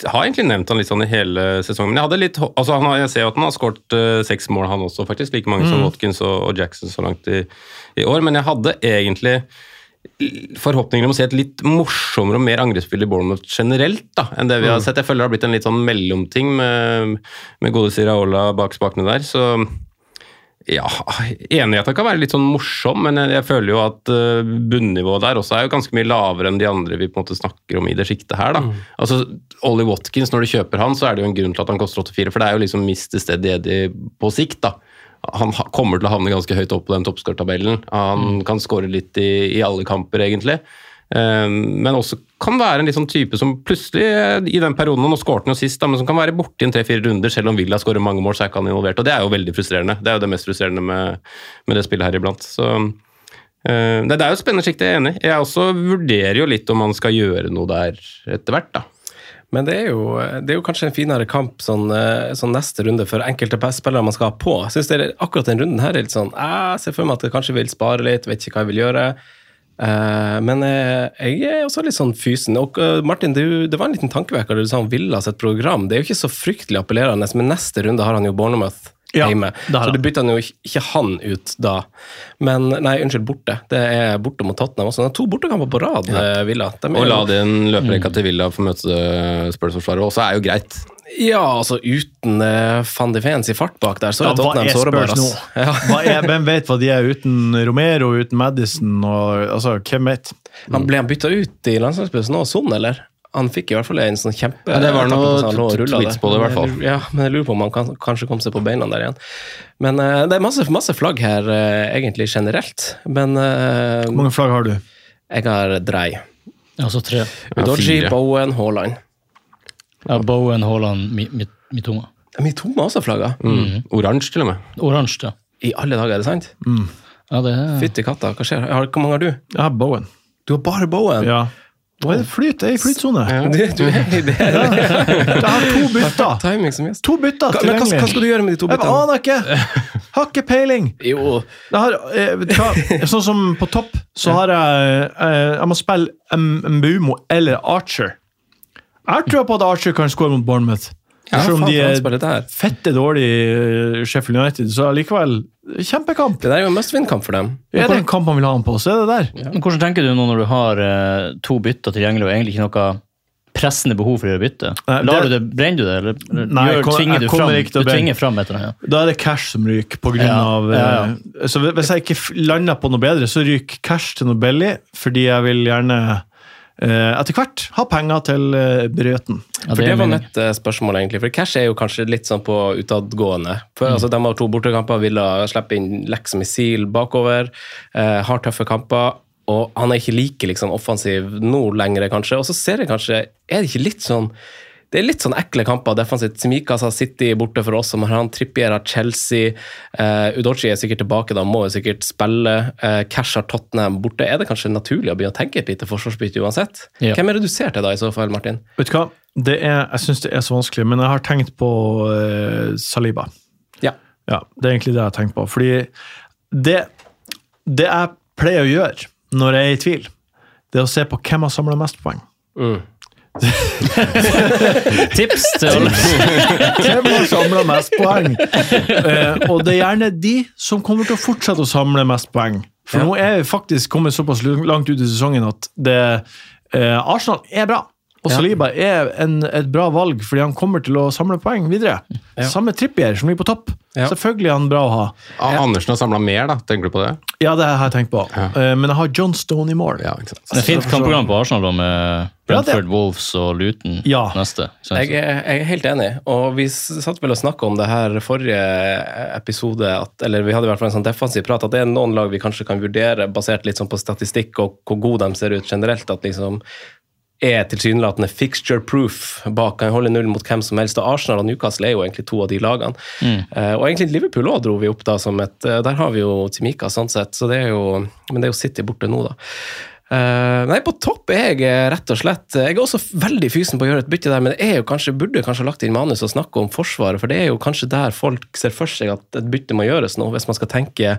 Speaker 2: har egentlig nevnt han litt sånn i hele sesongen. Men jeg, hadde litt, hå- altså han har, jeg ser jo at han har skåret eh, seks mål, han også, faktisk. Like mange som Watkins og, og Jackson så langt i, i år. Men jeg hadde egentlig forhåpninger om å se et litt morsommere og mer angrepsspill i Bournemouth generelt da, enn det vi har sett. Jeg føler det har blitt en litt sånn mellomting med, med gode Siraola bak spakene der. så... Ja, enig i at han kan være litt sånn morsom, men jeg jeg føler jo at eh, bunnivået der også er jo ganske mye lavere enn de andre vi på en måte snakker om i det sjiktet her, da. Altså, Ollie Watkins, når du kjøper han, så er det jo en grunn til at han koster 84, for det er jo liksom Mr. Steady Eddie på sikt, da. Han ha- kommer til å havne ganske høyt opp på den toppskårertabellen. Han kan skåre litt i, i alle kamper, egentlig. Eh, men også kan være en litt sånn type som plutselig, eh, i den perioden Nå skåret han jo sist, da, men som kan være borte i en tre-fire runder, selv om Villa skårer mange mål, så er ikke han involvert. Og det er jo veldig frustrerende. Det er jo det mest frustrerende med, med det spillet her iblant. Så eh, det, det er jo et spennende sikt, jeg er enig i. Jeg også vurderer jo litt om man skal gjøre noe der etter hvert, da.
Speaker 3: Men det er, jo, det er jo kanskje en finere kamp sånn, eh, sånn neste runde for enkelte spillere man skal ha på. Jeg synes det er akkurat den runden her er litt sånn Jeg ser for meg at jeg kanskje vil spare litt, vet ikke hva jeg vil gjøre. Eh, men eh, jeg er også litt sånn fysen. Og eh, Martin, du, det var en liten tankevekker da du sa om Villa sitt program. Det er jo ikke så fryktelig appellerende, men neste runde har han jo Bournemouth
Speaker 4: Ja,
Speaker 3: hjemme.
Speaker 4: det har
Speaker 3: så
Speaker 4: han.
Speaker 3: du bytter han jo ikke- ikke han ut da. Men nei, unnskyld, borte. Det er borte mot Tottenham også. Det er to bortekamper på rad, eh, Villa. De er
Speaker 2: Og
Speaker 3: jo-
Speaker 2: la den løperekka til Villa få møte Spurs-forsvaret eh, også, er jo greit.
Speaker 3: Ja, altså uten uh, van de Feens i fart bak der, så
Speaker 4: Ja,
Speaker 3: er Tottenham
Speaker 4: hva er
Speaker 3: sårbar.
Speaker 4: Spurs
Speaker 3: ass.
Speaker 4: nå? Hva er, hvem vet hva de er uten Romero, uten Madison og altså, Hvem vet?
Speaker 3: Han ble han bytta ut i landslagsbussen nå, sånn, eller? Han fikk i hvert fall en sånn kjempe...
Speaker 2: Ja, det var
Speaker 3: etappe
Speaker 2: noe
Speaker 3: hvor han lå og
Speaker 2: t-
Speaker 3: rullet
Speaker 2: tweets
Speaker 3: der.
Speaker 2: på det, i hvert fall.
Speaker 3: Men jeg lurer- Ja, men jeg lurer på om han kan, kanskje kom seg på beina der igjen. Men eh, det er masse, masse flagg her, eh, egentlig generelt. Men eh,
Speaker 4: Hvor mange flagg har du?
Speaker 3: jeg har drei.
Speaker 5: Altså tre.
Speaker 3: Udoji,
Speaker 2: fire.
Speaker 3: Bowen, Haaland.
Speaker 5: Ja, Bowen, Haaland, Mi- Mi- Mitoma.
Speaker 3: Ja, men Mitoma har også flagga.
Speaker 2: Mm. Oransje, til og med.
Speaker 5: Oransje, ja.
Speaker 3: I alle dager, er det sant?
Speaker 5: Ja, det er
Speaker 3: Fytti katta, hva skjer? Jeg har- Hvor mange har du?
Speaker 4: Jeg har Bowen.
Speaker 3: Du har bare Bowen!
Speaker 4: Ja. Wow. Jeg flyt, jeg er i flytsone.
Speaker 3: Du, du er i det.
Speaker 4: Jeg har to bytter!
Speaker 3: Timing som gjest.
Speaker 4: To bytter
Speaker 3: Hva, men hva, hva skal du gjøre med de to
Speaker 4: Jeg
Speaker 3: bitene?
Speaker 4: aner ikke! Har ikke peiling!
Speaker 3: Jo,
Speaker 4: Jeg har, eh, vet du hva? sånn som på topp, så har jeg eh, Jeg må spille M- Mbumo eller Archer. Jeg har trua på at Archer kan score mot Bournemouth.
Speaker 3: ja,
Speaker 4: Selv om
Speaker 3: faen,
Speaker 4: de
Speaker 3: for han
Speaker 4: er
Speaker 3: spiller der.
Speaker 4: fette dårlige i Sheffield United, så likevel Kjempekamp!
Speaker 3: Det der er jo en must-win-kamp for dem.
Speaker 4: Er det en kamp han vil ha han på, så er det der.
Speaker 5: Men Hvordan tenker du nå når du har eh, to bytter tilgjengelig og egentlig ikke noe pressende behov for å gjøre bytte?
Speaker 4: Nei,
Speaker 5: Lar
Speaker 4: det-
Speaker 5: du det, Brenner du det, eller eller
Speaker 4: Nei, jeg
Speaker 5: gjør,
Speaker 4: kommer-
Speaker 5: tvinger
Speaker 4: jeg
Speaker 5: du
Speaker 4: kommer
Speaker 5: fram,
Speaker 4: ikke til å
Speaker 5: du
Speaker 4: brenne.
Speaker 5: tvinger fram et eller annet?
Speaker 4: Da er det cash som ryker. På grunn
Speaker 5: Ja,
Speaker 4: av,
Speaker 5: ja, ja.
Speaker 4: eh, Så hvis jeg ikke f- lander på noe bedre, så ryker cash til noe billig, fordi jeg vil gjerne eh, etter hvert ha penger til eh, brøten.
Speaker 5: Ja,
Speaker 3: For det
Speaker 5: er
Speaker 3: var
Speaker 5: meningen.
Speaker 3: mitt eh, spørsmål, egentlig. For Cash er jo kanskje litt sånn på utadgående. For altså, De har to bortekamper, ville slippe inn Lex Missil bakover. eh, har tøffe kamper. Og han er ikke like liksom, offensiv nå lenger, kanskje. Og så ser jeg kanskje Er det ikke litt sånn det er litt sånn ekle kamper defensivt. Simikas har City borte for oss, som har han Trippier har Chelsea. Uh, Udochi er sikkert tilbake, da må jo sikkert spille. eh, Cash har Tottenham borte. Er det kanskje naturlig å begynne å tenke et lite forsvarsbytte uansett?
Speaker 5: Ja.
Speaker 3: Hvem er det du ser til da, i så fall, Martin?
Speaker 4: Vet du hva? Det er, jeg syns det er så vanskelig, men jeg har tenkt på eh, Saliba.
Speaker 3: Ja.
Speaker 4: Ja, Det er egentlig det jeg har tenkt på. Fordi det, det jeg pleier å gjøre når jeg er i tvil, det er å se på hvem har samla mest poeng.
Speaker 5: Tips til alle.
Speaker 4: Hvem har samla mest poeng? Eh, og det er gjerne de som kommer til å fortsette å samle mest poeng. For nå er vi faktisk kommet såpass langt ut i sesongen at det, eh, Arsenal er bra. Og Saliba er en, et bra valg, fordi han kommer til å samle poeng videre. Samme Trippier, som ligger på topp.
Speaker 3: Ja.
Speaker 4: Selvfølgelig er han bra å ha.
Speaker 2: Ah, Andersen har samla mer, da. Tenker du på det?
Speaker 4: Ja, det har jeg tenkt på.
Speaker 2: Ja.
Speaker 4: Eh, men jeg har John Stone i mål.
Speaker 2: Ja, ikke sant.
Speaker 5: Det er fint kampprogram på Arsenal da, med
Speaker 4: Ja, det-
Speaker 5: Brentford, Wolves og Luton
Speaker 4: Ja.
Speaker 5: neste. Så-
Speaker 3: Jeg er, jeg er helt enig, og vi s- satt vel og snakka om det her forrige episode, at, eller vi hadde i hvert fall en sånn defensiv prat, at det er noen lag vi kanskje kan vurdere basert litt sånn på statistikk og hvor gode de ser ut generelt. at liksom er tilsynelatende fixture proof bak. Kan holde null mot hvem som helst. Og Arsenal og Newcastle er jo egentlig to av de lagene. Eh, og egentlig Liverpool òg dro vi opp da som et eh, Der har vi jo Timika, sånn sett. Så det er jo, men det er jo City borte nå, da. Eh, nei, på topp er jeg eh, rett og slett Jeg er også f- veldig fysen på å gjøre et bytte der, men jeg er jo kanskje, burde kanskje ha lagt inn manus og snakke om Forsvaret, for det er jo kanskje der folk ser for seg at et bytte må gjøres nå, hvis man skal tenke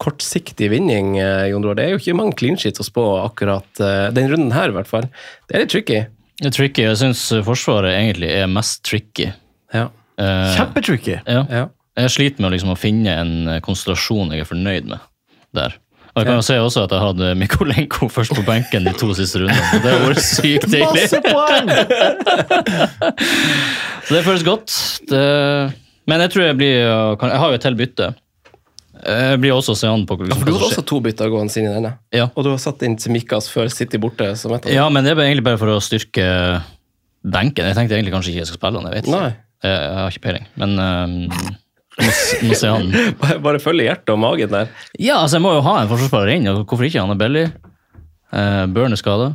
Speaker 3: kortsiktig vinning, eh, Jon Roar. Det er jo ikke mange clean sheets å spå akkurat eh, den runden her, i hvert fall. Det er litt tricky.
Speaker 5: Det er tricky. Jeg syns Forsvaret egentlig er mest tricky.
Speaker 3: Ja.
Speaker 5: Eh,
Speaker 4: Kjempetricky.
Speaker 5: ja.
Speaker 3: Ja.
Speaker 5: Jeg sliter med å, liksom, å finne en eh, konstellasjon jeg er fornøyd med der. Og jeg kan jo se også at jeg hadde Mikolenko først på benken de to siste rundene. så Det har vært sykt deilig.
Speaker 4: Masse poeng!
Speaker 5: Så det føles godt. Det... Men jeg tror jeg blir å- kan- Jeg har jo et til bytte. Eh, Jeg blir også seende på liksom,
Speaker 3: For du
Speaker 5: hva
Speaker 3: hadde
Speaker 5: som skjer.
Speaker 3: også to bytter gående inn i denne,
Speaker 5: Ja.
Speaker 3: og du har satt inn Simikas før City borte. som et av
Speaker 5: ja, men det er egentlig bare for å styrke benken. Jeg tenkte egentlig kanskje ikke jeg skal spille han, jeg vet ikke.
Speaker 3: Nei.
Speaker 5: Jeg, jeg har ikke peiling, men eh, må, s- må se han.
Speaker 3: Bare, bare følge hjertet og magen der.
Speaker 5: Ja, altså jeg må jo ha en forsvarsspiller inn, og hvorfor ikke? Han er billig. Eh, Børn er skada.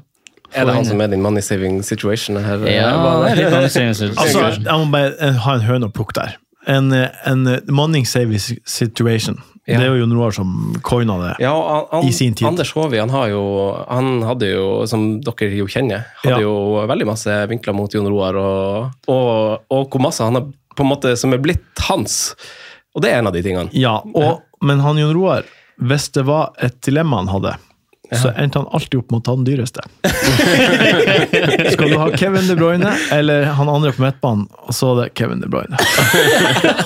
Speaker 3: Er det han som er din money saving situation her? eh,
Speaker 5: Ja,
Speaker 3: Hva
Speaker 5: det
Speaker 3: er
Speaker 5: er
Speaker 3: det?
Speaker 5: litt annerledes.
Speaker 4: Altså, jeg må bare eh, ha en høne å plukke der. En, eh, en eh, money saving situation.
Speaker 3: Ja.
Speaker 4: Det er jo Jon Roar som coina det.
Speaker 3: Ja, og han,
Speaker 4: I sin tid.
Speaker 3: Anders Håvi han har jo, han hadde jo, som dere jo kjenner, hadde
Speaker 4: Ja.
Speaker 3: jo veldig masse vinkler mot Jon Roar, og, og, og hvor masse han har på en måte som er blitt hans. Og det er en av de tingene.
Speaker 4: Ja, og, Men han Jon Roar, hvis det var et dilemma han hadde, så endte han alltid opp med å ta den dyreste. Skal du ha Kevin De Bruyne eller han andre på midtbanen? Og så er det Kevin De Bruyne.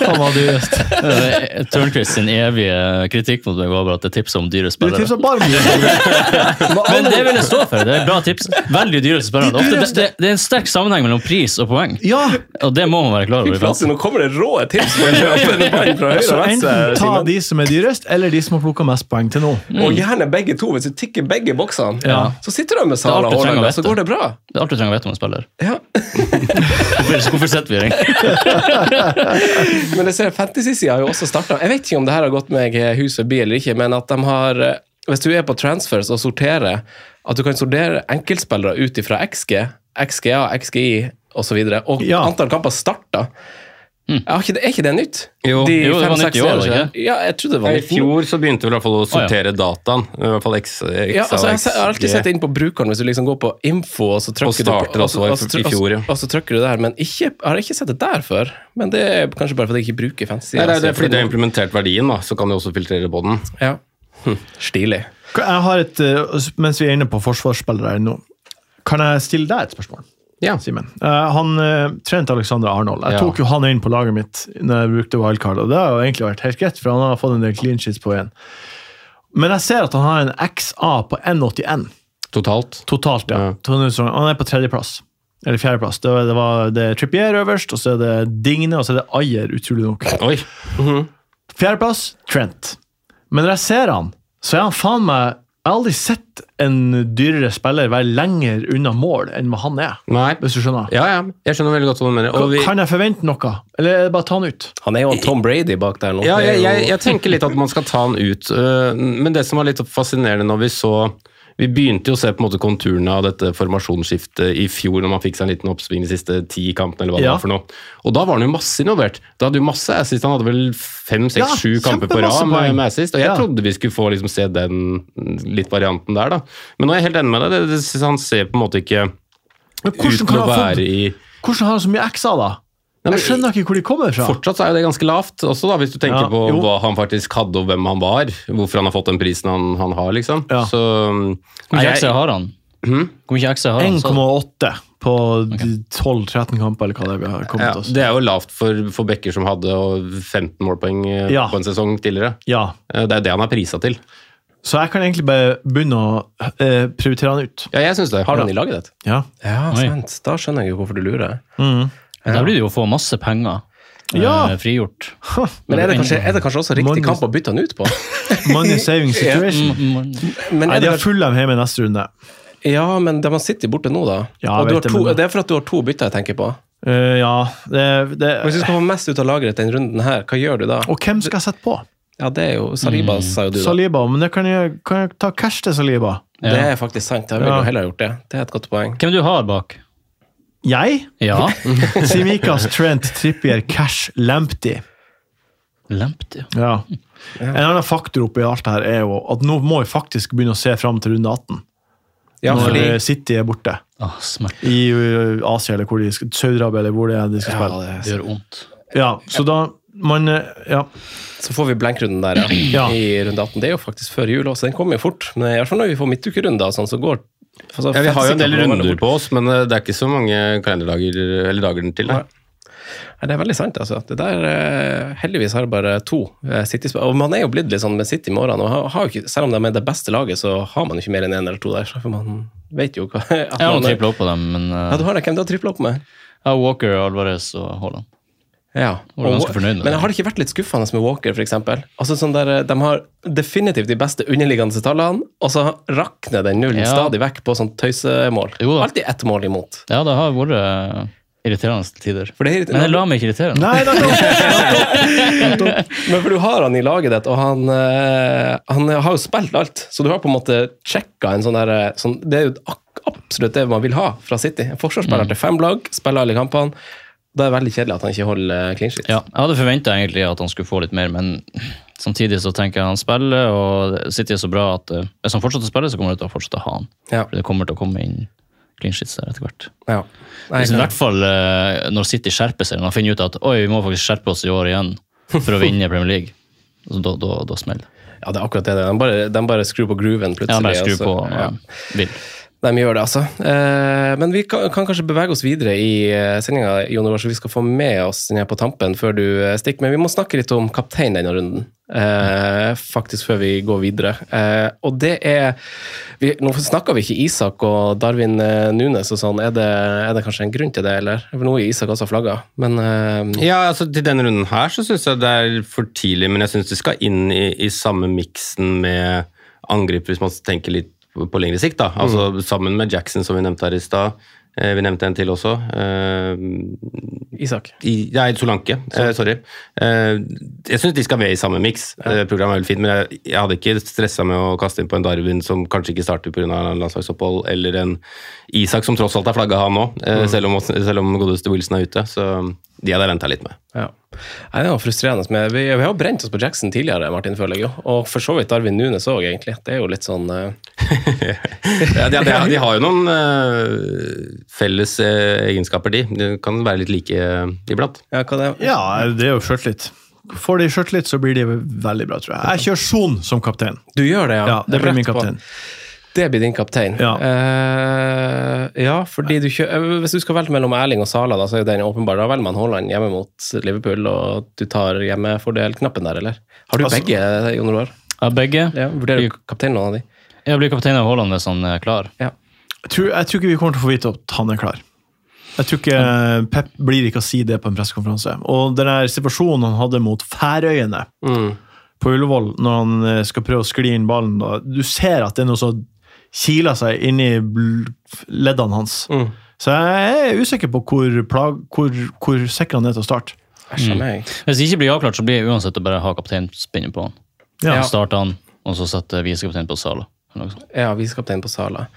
Speaker 4: Han var dyrest.
Speaker 5: Eh, Tørnquist sin evige kritikk mot meg var bare at jeg tipsa om dyre
Speaker 4: Du
Speaker 5: spillere.
Speaker 4: tipsa bare om dyrest.
Speaker 5: Men det vil jeg stå for. Det er bra tips. Veldig dyre spillere. Det, er ofte,
Speaker 4: dyreste-
Speaker 5: det, det er en sterk sammenheng mellom pris og poeng.
Speaker 4: Ja,
Speaker 5: Og det må man være klar
Speaker 3: Fy
Speaker 5: over. i
Speaker 3: flate,
Speaker 5: Frankrike.
Speaker 3: nå kommer det rå tips! for å kjøpe en vann fra høyre
Speaker 4: Så
Speaker 3: og
Speaker 4: enten
Speaker 3: venstre,
Speaker 4: ta
Speaker 3: Simen.
Speaker 4: de som er dyrest, eller de som har plukka mest poeng til nå.
Speaker 3: Og gjerne begge to. Hvis du tikker begge boksene,
Speaker 4: Ja.
Speaker 3: så sitter du med
Speaker 5: Det er
Speaker 3: Sala
Speaker 5: alt
Speaker 3: og
Speaker 5: du trenger å
Speaker 3: Haaland, så
Speaker 5: vite.
Speaker 3: går det bra.
Speaker 5: Det er alt du trenger å vite om en spiller.
Speaker 3: Ja.
Speaker 5: Hvorfor, hvorfor sitter vi her egentlig?
Speaker 3: Men jeg ser fantasy-sida har jo også starta. Jeg vet ikke om det her har gått meg eh, hus forbi eller ikke, men at de har eh, Hvis du er på transfers og sorterer, at du kan sortere enkeltspillere ut ifra XG, XGA, XGI osv., og, og
Speaker 4: Ja.
Speaker 3: antall kamper starta.
Speaker 2: Mm.
Speaker 3: Er, ikke det, er ikke det nytt?
Speaker 2: Jo.
Speaker 3: De
Speaker 5: Jo, det var
Speaker 3: fem,
Speaker 5: nytt
Speaker 3: seks
Speaker 5: i år,
Speaker 3: årene,
Speaker 5: var det ikke
Speaker 3: Ja, jeg trodde det
Speaker 2: Nei,
Speaker 3: var
Speaker 2: I
Speaker 3: nytt.
Speaker 2: fjor så begynte vi i hvert fall å sortere dataen. I hvert fall X, X,
Speaker 3: Ja, altså, jeg
Speaker 2: liksom, X,
Speaker 3: har alltid
Speaker 2: G.
Speaker 3: sett inn på brukeren hvis du liksom går på info og så trykker
Speaker 2: starter
Speaker 3: du på, og så-
Speaker 2: også i-
Speaker 3: og så tryk-
Speaker 2: i fjor, ja.
Speaker 3: og så- Og så trykker du der, men ikke, har jeg ikke sett det der før. Men det er kanskje bare fordi jeg ikke bruker fancy.
Speaker 2: Nei, det er, det
Speaker 3: altså,
Speaker 2: er fordi du har implementert verdien, da, så kan du også filtrere på den.
Speaker 3: ja. Hm, Stilig.
Speaker 4: Jeg har et, eh, Mens vi er inne på forsvarsspillere nå, kan jeg stille deg et spørsmål?
Speaker 2: Ja.
Speaker 4: Simen. Eh, han eh, trente Alexander Arnold. Jeg
Speaker 2: Ja.
Speaker 4: tok jo han inn på laget mitt når jeg brukte wildcard, og det har jo egentlig vært helt greit, for han har fått en del clean sheets på igjen. Men jeg ser at han har en XA på 1,81
Speaker 2: Totalt.
Speaker 4: totalt, ja.
Speaker 2: Ja.
Speaker 4: Tony Strong. Han er på tredjeplass. Eller fjerdeplass. Det, var- det, var- det er Trippier øverst, og så er det Digne, og så er det Ayer, utrolig nok.
Speaker 2: Oi.
Speaker 4: Fjerdeplass Trent. Men når jeg ser han, så er han faen meg Jeg har aldri sett en dyrere spiller være lenger unna mål enn hva han er.
Speaker 2: Nei.
Speaker 4: Hvis du skjønner.
Speaker 2: Ja, ja. Jeg skjønner veldig godt hva du mener. Og vi,
Speaker 4: Kan jeg forvente noe, eller er det bare å ta han ut?
Speaker 3: Han er jo en Tom Brady bak der nå.
Speaker 2: ja,
Speaker 3: Det er
Speaker 2: jeg,
Speaker 3: jo-
Speaker 2: jeg, jeg tenker litt at man skal ta den ut. øh, Men det som var litt fascinerende når vi så Vi begynte jo å se på en måte konturene av dette formasjonsskiftet i fjor, når man fikk seg en liten oppsving de siste ti kampene, eller hva det
Speaker 4: Ja.
Speaker 2: var for noe. Og da var han jo masse involvert. Da hadde jo masse assist. Han hadde vel fem,
Speaker 4: Ja,
Speaker 2: seks, sju kamper på
Speaker 4: kjempemasse
Speaker 2: rad med,
Speaker 4: poeng.
Speaker 2: med assist. Og jeg
Speaker 4: Ja.
Speaker 2: trodde vi skulle få liksom se den litt varianten der, da. Men nå er jeg helt enig med deg. Det, det, synes han ser på en måte ikke
Speaker 4: Men hvordan,
Speaker 2: ut til
Speaker 4: kan
Speaker 2: å
Speaker 4: han ha
Speaker 2: være
Speaker 4: fått,
Speaker 2: i
Speaker 4: hvordan har han så mye X-a, da?
Speaker 2: Nei, men-
Speaker 4: Jeg skjønner ikke hvor de kommer fra.
Speaker 2: Fortsatt så er jo det ganske lavt, også da, hvis du tenker
Speaker 4: Ja,
Speaker 2: på
Speaker 4: jo.
Speaker 2: hva han faktisk hadde, og hvem han var. Hvorfor han har fått den prisen han, han har, liksom.
Speaker 4: Ja.
Speaker 2: Så mm,
Speaker 5: Hvor
Speaker 2: nei,
Speaker 5: mye
Speaker 2: jeg-
Speaker 5: ekstra har han?
Speaker 3: Hmm?
Speaker 5: Hvor mye ekstra har han? Så-
Speaker 4: 1,8 på de 12-13 kamper, eller hva det er vi har
Speaker 2: ja,
Speaker 4: kommet oss.
Speaker 2: det er jo lavt for, for Becker, som hadde og 15 målpoeng eh,
Speaker 4: Ja.
Speaker 2: på en sesong tidligere.
Speaker 4: Ja,
Speaker 2: Eh, Det er jo det han er prisa til.
Speaker 4: Så jeg kan egentlig bare begynne å eh, prioritere han ut.
Speaker 2: Ja, jeg syns det.
Speaker 3: Har han i laget ditt?
Speaker 4: Ja.
Speaker 3: Ja,
Speaker 5: Oi.
Speaker 3: sant. Da skjønner jeg jo hvorfor du lurer.
Speaker 5: Der blir det jo å få masse penger eh,
Speaker 4: Ja.
Speaker 5: frigjort.
Speaker 3: Men er det kanskje, er det kanskje også riktig
Speaker 4: Magnus-
Speaker 3: kamp å bytte han ut på?
Speaker 4: Money saving
Speaker 2: mm,
Speaker 4: situation.
Speaker 3: Men
Speaker 4: Nei,
Speaker 3: er
Speaker 4: de
Speaker 3: det
Speaker 4: har full dem hjemme i neste runde.
Speaker 3: kanskje, ja, men de har City borte nå, da.
Speaker 4: Ja,
Speaker 3: og du
Speaker 4: jeg vet
Speaker 3: har
Speaker 4: det,
Speaker 3: to,
Speaker 4: men-
Speaker 3: det er for at du har to bytter jeg tenker på.
Speaker 4: Eh, ja, det, det
Speaker 3: Hvis du skal få mest ut av lageret denne runden her, hva gjør du da?
Speaker 4: Og hvem skal jeg sette på?
Speaker 3: Ja, det er jo
Speaker 4: Mm.
Speaker 3: Saliba, sa jo du. da.
Speaker 4: Saliba. Men det kan jeg, kan jeg ta cash til Saliba.
Speaker 3: Det er faktisk sant. Jeg ville jo
Speaker 4: Ja.
Speaker 3: heller gjort det. Det er et godt poeng.
Speaker 5: Hvem du har bak?
Speaker 4: Jeg?
Speaker 5: Ja,
Speaker 4: Simikas, Trent, Trippier, Cash, Lamptey.
Speaker 5: Lempty.
Speaker 4: Ja. En annen faktor oppi alt det her er jo at nå må vi faktisk begynne å se fram til runde 18.
Speaker 3: Ja,
Speaker 4: når
Speaker 3: fordi
Speaker 4: eh, City er borte.
Speaker 5: Ah, smerte
Speaker 4: I eh, Asia eller hvor de skal Saudi-Arabia eller hvor det er de skal spille.
Speaker 5: gjør vondt.
Speaker 4: Ja, så da man, eh, ja.
Speaker 3: Så får vi blankrunden der, ja.
Speaker 4: Ja.
Speaker 3: I runde 18. Det er jo faktisk før jul også, den kommer jo fort. Men i hvert fall når vi får midtukerunder og sånn, så går altså,
Speaker 2: Ja, vi har jo en del
Speaker 3: fett-
Speaker 2: runder på oss, men eh, det er ikke så mange kalenderdager eller dager til. Nei.
Speaker 3: Nei. Nei, det er veldig sant, altså. Det der, eh, heldigvis har jeg bare to eh, City Og man er jo blitt litt sånn med City med årene. Og har, har jo ikke, selv om de er det beste laget, så har man jo ikke mer enn én en eller to der. så For man vet jo hva at
Speaker 5: Jeg har
Speaker 3: man-
Speaker 5: noen tripla opp på dem, men
Speaker 3: Ja,
Speaker 5: eh,
Speaker 3: du har det. Hvem du har tripla opp med?
Speaker 5: jeg har Walker, Alvarez og Haaland.
Speaker 3: Ja,
Speaker 5: Og var ganske fornøyd med
Speaker 3: Men
Speaker 5: det.
Speaker 3: har det ikke vært litt skuffende med Walker, f.eks.? Altså, sånn der, eh, de har definitivt de beste underliggende tallene, og så rakner den nullen
Speaker 5: Ja.
Speaker 3: stadig vekk på sånn tøysemål.
Speaker 5: Jo da.
Speaker 3: Alltid ett mål imot.
Speaker 5: Ja, det har vært eh, irriterende til tider.
Speaker 3: For det er irrit-
Speaker 5: Men jeg lar meg ikke irritere.
Speaker 4: Nei, det er klart.
Speaker 3: Men for du har han i laget ditt, og han, eh, han har jo spilt alt, så du har på en måte sjekka en sånn der eh, sånn, Det er jo ak absolutt det man vil ha fra City. En forsvarsspiller til fem lag, spiller alle kampene. Da er det veldig kjedelig at han ikke holder eh, clean sheet.
Speaker 5: Ja, jeg hadde forventa egentlig at han skulle få litt mer, men samtidig så tenker jeg han spiller, og City er så bra at eh, hvis han fortsetter å spille, så kommer det til å fortsette å ha han.
Speaker 3: Ja.
Speaker 5: For det kommer til å komme inn clean sheets der etter hvert.
Speaker 3: Ja. Nei,
Speaker 5: Hvis I hvert fall eh, når City skjerper seg, når han finner ut at oi, vi må faktisk skjerpe oss i år igjen for å vinne Premier League. Så da, da, da smeller det.
Speaker 3: ja, det er akkurat det. det er. De bare, de bare skrur på grooven
Speaker 5: Ja,
Speaker 3: plutselig.
Speaker 5: bare skru
Speaker 3: altså.
Speaker 5: på
Speaker 3: Ja.
Speaker 5: ja. Bill.
Speaker 3: Nei, De gjør det, altså. Eh, men vi kan, kan kanskje bevege oss videre i eh, sendinga, Jon Roar, så vi skal få med oss den her på tampen før du eh, stikker. Men vi må snakke litt om kaptein denne runden, eh, faktisk før vi går videre. Eh, og det er vi, Nå snakker vi ikke Isak og Darwin eh, Nunes og sånn. Er det, er det kanskje en grunn til det, eller? For nå er Isak altså flagga, men eh,
Speaker 2: Ja, altså Til denne runden her så syns jeg det er for tidlig, men jeg syns de skal inn i, i samme miksen med angrip, hvis man tenker litt på på lengre sikt. da. Altså Sammen med Jackson, som vi nevnte her i stad. Eh, Vi nevnte en til også. Eh,
Speaker 3: Isak.
Speaker 2: i, nei, Solanke. Eh, sorry. Eh, jeg syns de skal med i samme miks. Eh, programmet er veldig fint, men jeg, jeg hadde ikke stressa med å kaste inn på en Darwin som kanskje ikke starter pga. landslagsopphold, eller en Isak som tross alt er flagga, han òg, eh, selv, om- selv om godeste Wilson er ute. Så de hadde jeg venta litt med.
Speaker 3: Ja. Nei, det var frustrerende. Men vi, vi har jo brent oss på Jackson tidligere, Martin, føler jeg jo. Og for så vidt Darwin Nunes òg, egentlig. Det er jo litt sånn eh,
Speaker 2: Ja, de, de, de har jo noen eh, felles eh, egenskaper, de. De kan være litt like eh, iblant.
Speaker 3: Ja, hva det
Speaker 4: Ja, det er jo sjøltillit. Får de sjøltillit, så blir de veldig bra, tror jeg. Jeg kjører Son som kaptein.
Speaker 3: Du gjør det, ja.
Speaker 4: Ja, det blir
Speaker 3: Rett
Speaker 4: min
Speaker 3: på.
Speaker 4: kaptein.
Speaker 3: Det blir din kaptein.
Speaker 4: Ja.
Speaker 3: Eh, ja fordi du kjø eh, Hvis du skal velge mellom Erling og Sala, da, så er jo den åpenbar. Da velger man Haaland hjemme mot Liverpool, og du tar hjemmefordelknappen der, eller? Har du
Speaker 4: Altså-
Speaker 3: begge, Jon Roar?
Speaker 5: Ja, begge.
Speaker 3: Ja, vurderer du kaptein noen av de?
Speaker 5: Jeg blir kaptein av Haaland hvis han er klar.
Speaker 4: Jeg tror, jeg tror ikke vi kommer til å få vite at han er klar. Jeg tror ikke eh, Pep blir ikke å si det på en pressekonferanse. Og den der situasjonen han hadde mot Færøyene
Speaker 3: Mm.
Speaker 4: på Ullevål, når han eh, skal prøve å skli inn ballen da, Du ser at det er noe som kiler seg inni bl- leddene hans.
Speaker 3: Mm.
Speaker 4: Så jeg er usikker på hvor, plag, hvor, hvor sikker han er til å starte.
Speaker 3: Æsj
Speaker 4: Mm.
Speaker 3: a meg.
Speaker 5: Hvis det ikke blir avklart, så blir jeg uansett å bare ha kapteinspinnet på han.
Speaker 4: Ja.
Speaker 5: Starte han, og så sette visekaptein på Sala. eller noe sånt.
Speaker 3: Ja, visekaptein på Sala.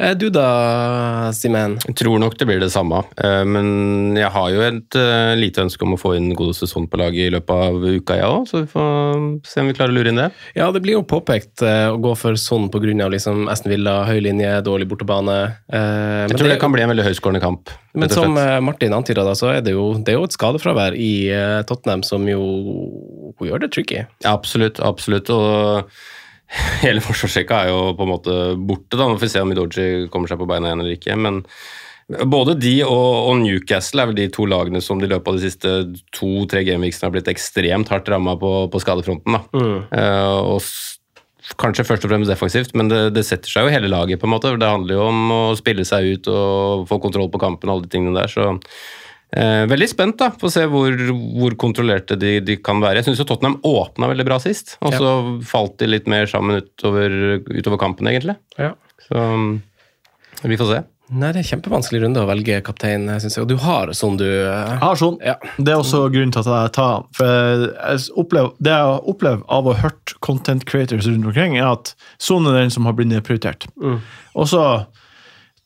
Speaker 3: Eh, du da, Simen?
Speaker 2: Jeg tror nok det blir det samme, eh, men jeg har jo et eh, lite ønske om å få inn godeste Son på laget i løpet av uka, jeg òg, så vi får se om vi klarer å lure inn det.
Speaker 3: Ja, det blir jo påpekt eh, å gå for sånn pga. Liksom Aston Villa, høy linje, dårlig bortebane. Eh,
Speaker 2: Jeg tror det kan bli en veldig høyskårende kamp.
Speaker 3: men
Speaker 2: rett og
Speaker 3: som
Speaker 2: slett.
Speaker 3: eh, Martin antyda, da, så er det, jo, det er jo et skadefravær i eh, Tottenham som jo gjør det tricky.
Speaker 2: Ja, Absolutt, absolutt. Og hele forsvarsrekka er jo på en måte borte, da. Nå får vi se om Midoji kommer seg på beina igjen eller ikke. Men både de og, og Newcastle er vel de to lagene som de i løpet av de siste to-tre gameweeksene har blitt ekstremt hardt ramma på, på skadefronten. da.
Speaker 3: Mm.
Speaker 2: Eh, og s- Kanskje først og fremst defensivt, men det, det setter seg jo hele laget. på en måte. Det handler jo om å spille seg ut og få kontroll på kampen og alle de tingene der. så Eh, veldig spent da, på å se hvor, hvor kontrollerte de, de kan være. Jeg syns Tottenham åpna veldig bra sist, og så falt de litt mer sammen utover, utover kampen, egentlig. Så mm, vi får se.
Speaker 3: Nei, det er en kjempevanskelig runde å velge kaptein, syns jeg. Og du har sånn du eh,
Speaker 4: Jeg har sånn.
Speaker 3: Ja.
Speaker 4: Det er også grunnen til at jeg tar for jeg opplever, Det jeg har opplevd av å ha hørt content creators rundt omkring, er at Son er den som har blitt nedprioritert. Og så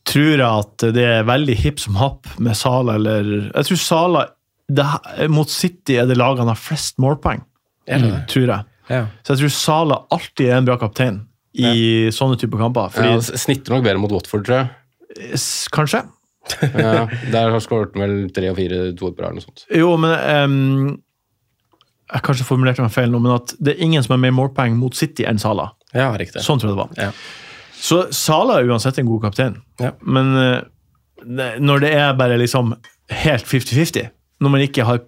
Speaker 4: tror jeg at det er veldig hipp som happ med Sala eller Jeg tror Sala det, her- Mot City er det lagene har flest målpoeng, Mm.
Speaker 3: Er det det?
Speaker 4: tror jeg.
Speaker 3: Ja.
Speaker 4: Så jeg tror Sala alltid er en bra kaptein i sånne typer kamper.
Speaker 2: Ja,
Speaker 4: Fordi,
Speaker 2: s- snitter nok bedre mot Watford, tror jeg.
Speaker 4: s- Kanskje.
Speaker 2: Ja, der har skåret vel tre og fire toer på rad. eller noe sånt.
Speaker 4: Jo, men ehm, Jeg kanskje formulerte meg feil nå, men at det er ingen som har mer målpoeng mot City enn Sala.
Speaker 3: ja, riktig.
Speaker 4: Sånn tror jeg det var.
Speaker 3: Ja.
Speaker 4: Så Sala er uansett en god kaptein,
Speaker 3: Ja.
Speaker 4: men eh, det- når det er bare liksom helt 50-50, når man ikke har,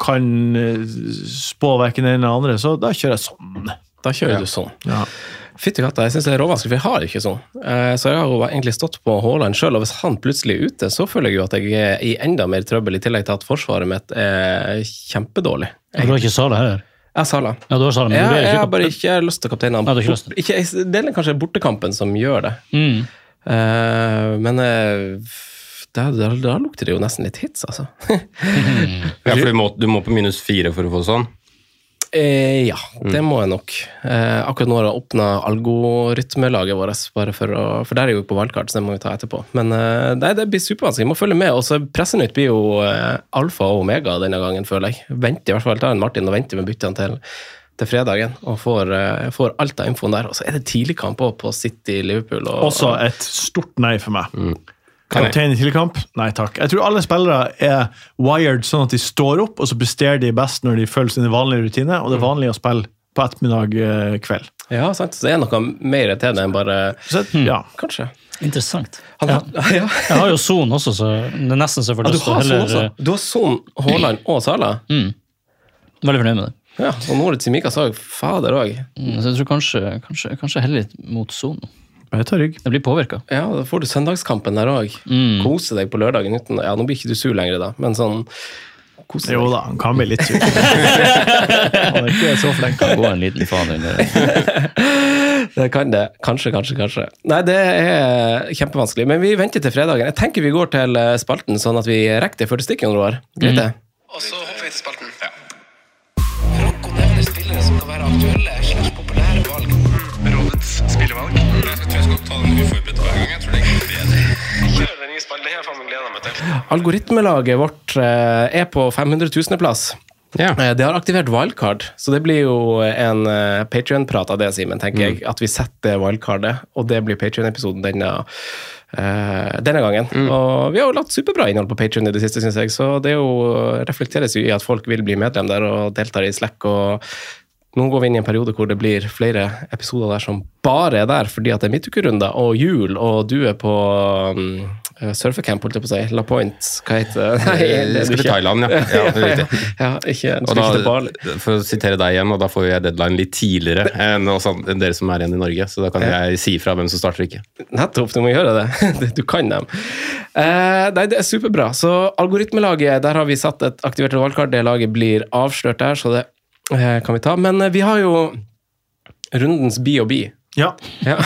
Speaker 4: kan eh, spå verken den eller den andre, så da kjører jeg sånn.
Speaker 3: Da kjører du sånn.
Speaker 4: Ja.
Speaker 3: Fytti katta, jeg syns det er råvanskelig, for jeg har jo ikke sånn. Eh, Så jeg har jo egentlig stått på Haaland sjøl, og hvis han plutselig er ute, så føler jeg jo at jeg er i enda mer trøbbel, i tillegg til at forsvaret mitt er kjempedårlig.
Speaker 5: Du har ikke Sala her?
Speaker 3: Jeg har Sala.
Speaker 5: Ja, du har Sala, men
Speaker 3: Jeg,
Speaker 5: du
Speaker 3: jeg
Speaker 5: vurderer
Speaker 3: har
Speaker 5: ikke
Speaker 3: bare ikke lyst til å kapteine
Speaker 5: Nei,
Speaker 3: han.
Speaker 5: du har ikke lyst til.
Speaker 3: Ikke- jeg- Det er kanskje bortekampen som gjør det.
Speaker 5: Mm.
Speaker 3: Eh, Men eh, da, da, da lukter det jo nesten litt hits, altså.
Speaker 2: Ja, for du må, du må på minus fire for å få sånn.
Speaker 3: Eh, ja, det må jeg nok. Eh, akkurat nå har jeg åpna algorytmelaget vårt, bare for, å, for der er jeg jo på valgkart, så det må vi ta etterpå. Men eh, nei, det blir supervanskelig. Jeg må følge med. Og så Pressenytt blir jo eh, alfa og omega denne gangen, føler jeg. Venter i hvert fall, tar en Martin og venter med byttene til, til fredagen, og får, eh, får alt av infoen der. Og så er det tidligkamp òg, på City Liverpool. Og,
Speaker 4: Også et stort nei for meg.
Speaker 2: Mm. Kan jeg-
Speaker 4: Kaptein i tilkamp? Nei takk. Jeg tror alle spillere er wired sånn at de står
Speaker 2: Mm.
Speaker 4: opp, og så presterer de best når de følger sine vanlige rutiner, og det er vanlig å spille på ettermiddag eh, kveld.
Speaker 3: Ja, sant? Så det er noe mer til det enn bare
Speaker 2: Mm.
Speaker 4: ja.
Speaker 3: Kanskje.
Speaker 5: Interessant.
Speaker 3: Han, ja.
Speaker 5: Jeg har jo Son også, så det er nesten så jeg får
Speaker 3: Ja, du
Speaker 5: lyst til å
Speaker 3: har sånn
Speaker 5: Altså, heller
Speaker 3: også. Du har sånn Haaland og Sala.
Speaker 5: eh, Veldig fornøyd med det.
Speaker 3: Ja, og Noritz Simikaz òg. Fader òg.
Speaker 5: Mm, Så jeg tror kanskje, kanskje, kanskje heller litt mot Son.
Speaker 4: Jeg tar rygg.
Speaker 5: Jeg blir Mm. påvirka.
Speaker 3: Ja, da får du søndagskampen der òg.
Speaker 4: Mm.
Speaker 3: Kose deg på lørdagen uten Ja, nå blir ikke du sur lenger, da, men sånn Kose
Speaker 4: Jo
Speaker 3: deg.
Speaker 4: da, han kan bli litt sur. Han er ikke så flink.
Speaker 5: Kan gå en liten faen under det.
Speaker 3: Det kan det. Kanskje, kanskje, kanskje. Nei, det er kjempevanskelig. Men vi venter til fredagen. Jeg tenker vi går til eh, spalten, sånn at vi rekker det før det stikker, Roar.
Speaker 4: Mm.
Speaker 3: Greit det?
Speaker 6: Og så hopper vi til spalten. Ja. Franco nevner spillere som kan være aktuelle slags populære valg. Rådets spillevalg. Jeg tror jeg skal ta den uforberedt hver gang. Jeg tror det er bedre. Kjør den i spillet. Det har jeg faen meg gleda meg til.
Speaker 3: Algoritmelaget vårt eh, er på 500 000.-plass.
Speaker 2: Ja.
Speaker 3: Det Eh, har aktivert wildcard, så det blir jo en Patrion-prat av det, Simen, tenker jeg.
Speaker 2: Mm.
Speaker 3: At vi setter wildcardet, og det blir Patrion-episoden denne, eh, denne gangen.
Speaker 2: Mm.
Speaker 3: Og vi har jo lagt superbra innhold på Patrion i det siste, syns jeg, så det er jo, reflekteres jo i at folk vil bli medlem der og deltar i Slack. og nå går vi inn i en periode hvor det blir flere episoder der som bare er der, fordi at det er midtukerunder og jul, og du er på um, surfecamp, holdt jeg på å si. La Point, hva heter det? Nei, det er du
Speaker 2: Eh, Skal til
Speaker 3: ikke.
Speaker 2: Thailand, ja. ja, det er riktig.
Speaker 3: Ja, ikke,
Speaker 2: Og
Speaker 3: skal ikke til Bali.
Speaker 2: da, for å sitere deg igjen, og da får jo jeg deadline litt tidligere enn oss an- enn dere som er igjen i Norge, så da kan jeg si fra hvem som starter og ikke.
Speaker 3: Nettopp, du må gjøre det. Du kan dem. Eh, nei, det er superbra. Så algoritmelaget, der har vi satt et aktivert valgkart. Det laget blir avslørt der, så det eh, kan vi ta. Men eh, vi har jo rundens B&B.
Speaker 4: Ja,
Speaker 3: Ja.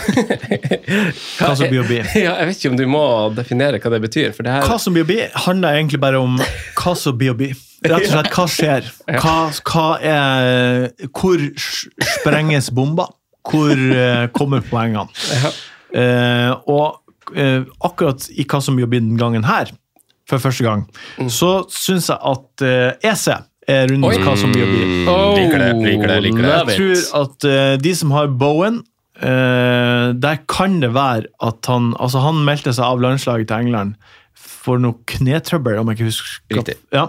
Speaker 4: hva som blir å bli.
Speaker 3: ja, jeg vet ikke om du må definere hva det betyr, for det her
Speaker 4: Hva som blir å bli, handler egentlig bare om hva som blir å bli. Rett og slett, hva skjer? Hva, hva er, hvor s- sprenges bomba? Hvor eh, kommer poengene? Eh, og eh, akkurat i hva som blir å bli den gangen her, for første gang, så syns jeg at eh, EC er rundt hva som blir å bli.
Speaker 3: Oh,
Speaker 2: Mm, Liker det, liker det, liker det.
Speaker 3: love it.
Speaker 4: Jeg tror at eh, de som har Bowen eh, Der kan det være at han Altså, han meldte seg av landslaget til England for noe knetrøbbel, om jeg ikke husker
Speaker 2: Riktig.
Speaker 4: Ja.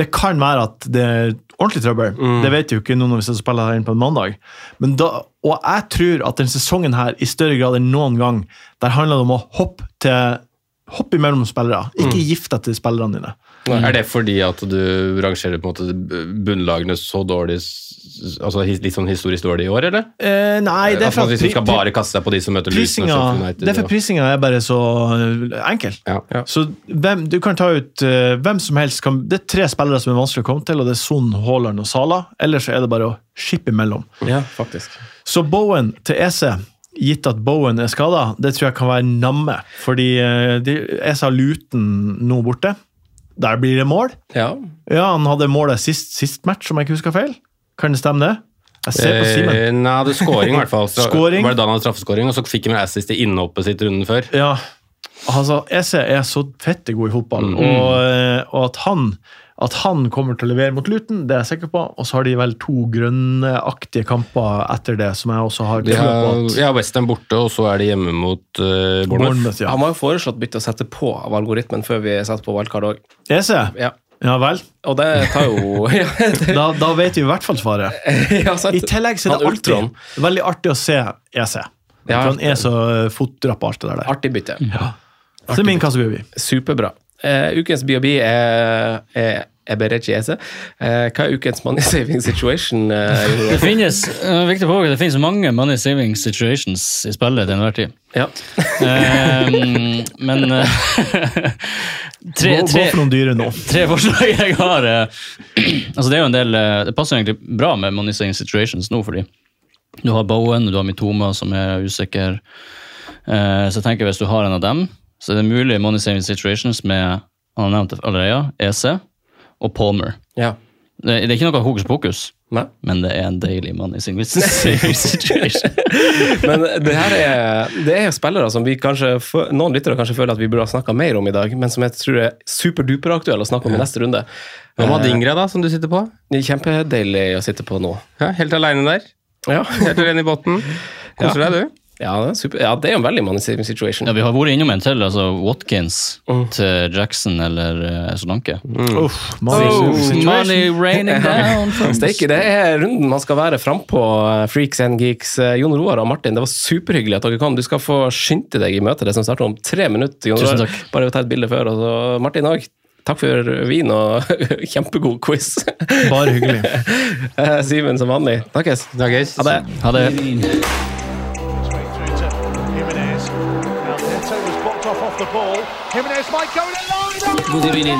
Speaker 4: Det kan være at det er ordentlig trøbbel. Det vet jo ikke noen hvis jeg spiller her inn på en mandag. Men da, og jeg tror at denne sesongen her i større grad enn noen gang der handler det om å hoppe til Hoppe imellom spillere. Ikke gift deg til spillerne dine.
Speaker 2: Er det fordi at du rangerer på en måte bunnlagene så dårlig s- altså his- litt sånn historisk dårlig i år, eller?
Speaker 4: Eh, nei, det er
Speaker 2: at man
Speaker 4: for
Speaker 2: liksom skal
Speaker 4: pri- pri-
Speaker 2: bare kaste seg på de som møter Luton og
Speaker 4: prisinga,
Speaker 2: Sheffield United?
Speaker 4: det er for
Speaker 2: og-
Speaker 4: prisinga er bare så eh, enkel.
Speaker 2: Ja.
Speaker 4: Så hvem, du kan ta ut eh, hvem som helst. Kan, det er tre spillere som er vanskelig å komme til, og det er Son, Haaland og Sala. Ellers er det bare å shippe imellom.
Speaker 3: Ja, faktisk.
Speaker 4: Så Bowen til EC, gitt at Bowen er skada, det tror jeg kan være namme. Fordi eh, de, EC har Luton nå borte. Der blir det mål.
Speaker 3: Ja.
Speaker 4: Ja, Han hadde målet sist, sist match, om jeg ikke husker feil. Kan det stemme, det? Jeg ser på Simen.
Speaker 2: Eh, nei, det er scoring i hvert fall. Så
Speaker 4: Scoring.
Speaker 2: Var det da han hadde straffescoring, og så fikk han en assist i innhoppet sitt runden før?
Speaker 4: Ja, altså EC er så fette god i fotball, og, eh, og at, han, at han kommer til å levere mot Luton, det er jeg sikker på. Og så har de vel to grønneaktige kamper etter det, som jeg også har
Speaker 2: De
Speaker 4: tro på.
Speaker 2: har,
Speaker 4: at
Speaker 2: ja, Westham borte, og så er de hjemme mot eh, Bournemouth.
Speaker 4: Bournemouth, ja.
Speaker 3: Han var jo foreslått bytte å sette på av algoritmen før vi satt på valgkart òg.
Speaker 4: EC?
Speaker 3: Ja.
Speaker 4: Ja vel.
Speaker 3: Og det tar jo ja, det,
Speaker 4: Da, da vet vi i hvert fall svaret.
Speaker 3: ja, sant.
Speaker 4: I tillegg så er det
Speaker 3: Han
Speaker 4: artig,
Speaker 3: Ultron.
Speaker 4: veldig artig å se EC.
Speaker 3: Ja.
Speaker 4: For han er så eh, fotrapp på alt det der.
Speaker 3: Artig bytte.
Speaker 4: Så det er min kassebaby.
Speaker 3: Superbra. Eh, ukens BOB er, er Eberechi Eze. Eh, hva er ukens money saving situation? Eh, Jon
Speaker 5: Det
Speaker 3: Roar?
Speaker 5: finnes eh, viktig å påpeke, det finnes mange money saving situations i spillet til enhver tid.
Speaker 3: ja.
Speaker 5: Ehm, men eh,
Speaker 4: Gå,
Speaker 5: tre,
Speaker 4: gå
Speaker 5: tre,
Speaker 4: for noen dyre nå.
Speaker 5: tre forslag jeg har eh, altså Det er jo en del eh, Det passer egentlig bra med money saving situations nå, fordi du har Bowen, du har Mitoma som er usikker. Eh, så jeg tenker hvis du har en av dem, så er det mulig money saving situations med han har nevnt det allerede, EC og Palmer.
Speaker 3: ja.
Speaker 5: Det, det er ikke noe hokus pokus,
Speaker 3: Nei.
Speaker 5: men det er en deilig money saving situation.
Speaker 3: Men det her er, det er jo spillere som vi kanskje, fø- noen lyttere kanskje føler at vi burde ha snakka mer om i dag, men som jeg tror er superduperaktuelle å snakke om i neste runde.
Speaker 2: Hva med Adingra, da, som du sitter på?
Speaker 3: Det er Kjempedeilig å sitte på nå.
Speaker 2: Ja, helt aleine der.
Speaker 3: Ja.
Speaker 2: Helt alene i båten. Koser deg, du.
Speaker 3: Ja, det er, super. Ja, det er jo en veldig money-saving situation.
Speaker 7: Ja, Vi har vært innom en til, altså Watkins til Jackson eller eh, Solanke.
Speaker 3: Uff, money saving situation.
Speaker 7: money raining down from
Speaker 3: Steike, det er runden man skal være frampå, eh, Freaks and Geeks. Eh, Jon Roar og Martin, det var superhyggelig at dere kom. Du skal få skynde deg i møtet, det som starter om tre minutter. Jon
Speaker 7: Tusen
Speaker 3: Roar,
Speaker 7: takk.
Speaker 3: bare ta et bilde før. Og så Martin òg. Takk for vin og kjempegod quiz.
Speaker 4: Bare hyggelig.
Speaker 3: Eh, Simen, som vanlig. Snakkes. Ha det.
Speaker 7: Ha det.
Speaker 8: Jimenez. Now Neto was blocked off off the ball. Jimenez might go in alone.
Speaker 9: Good evening.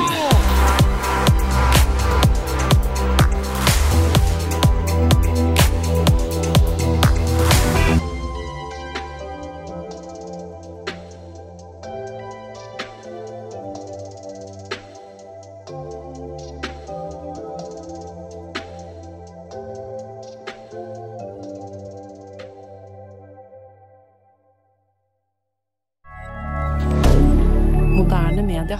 Speaker 1: Moderne media.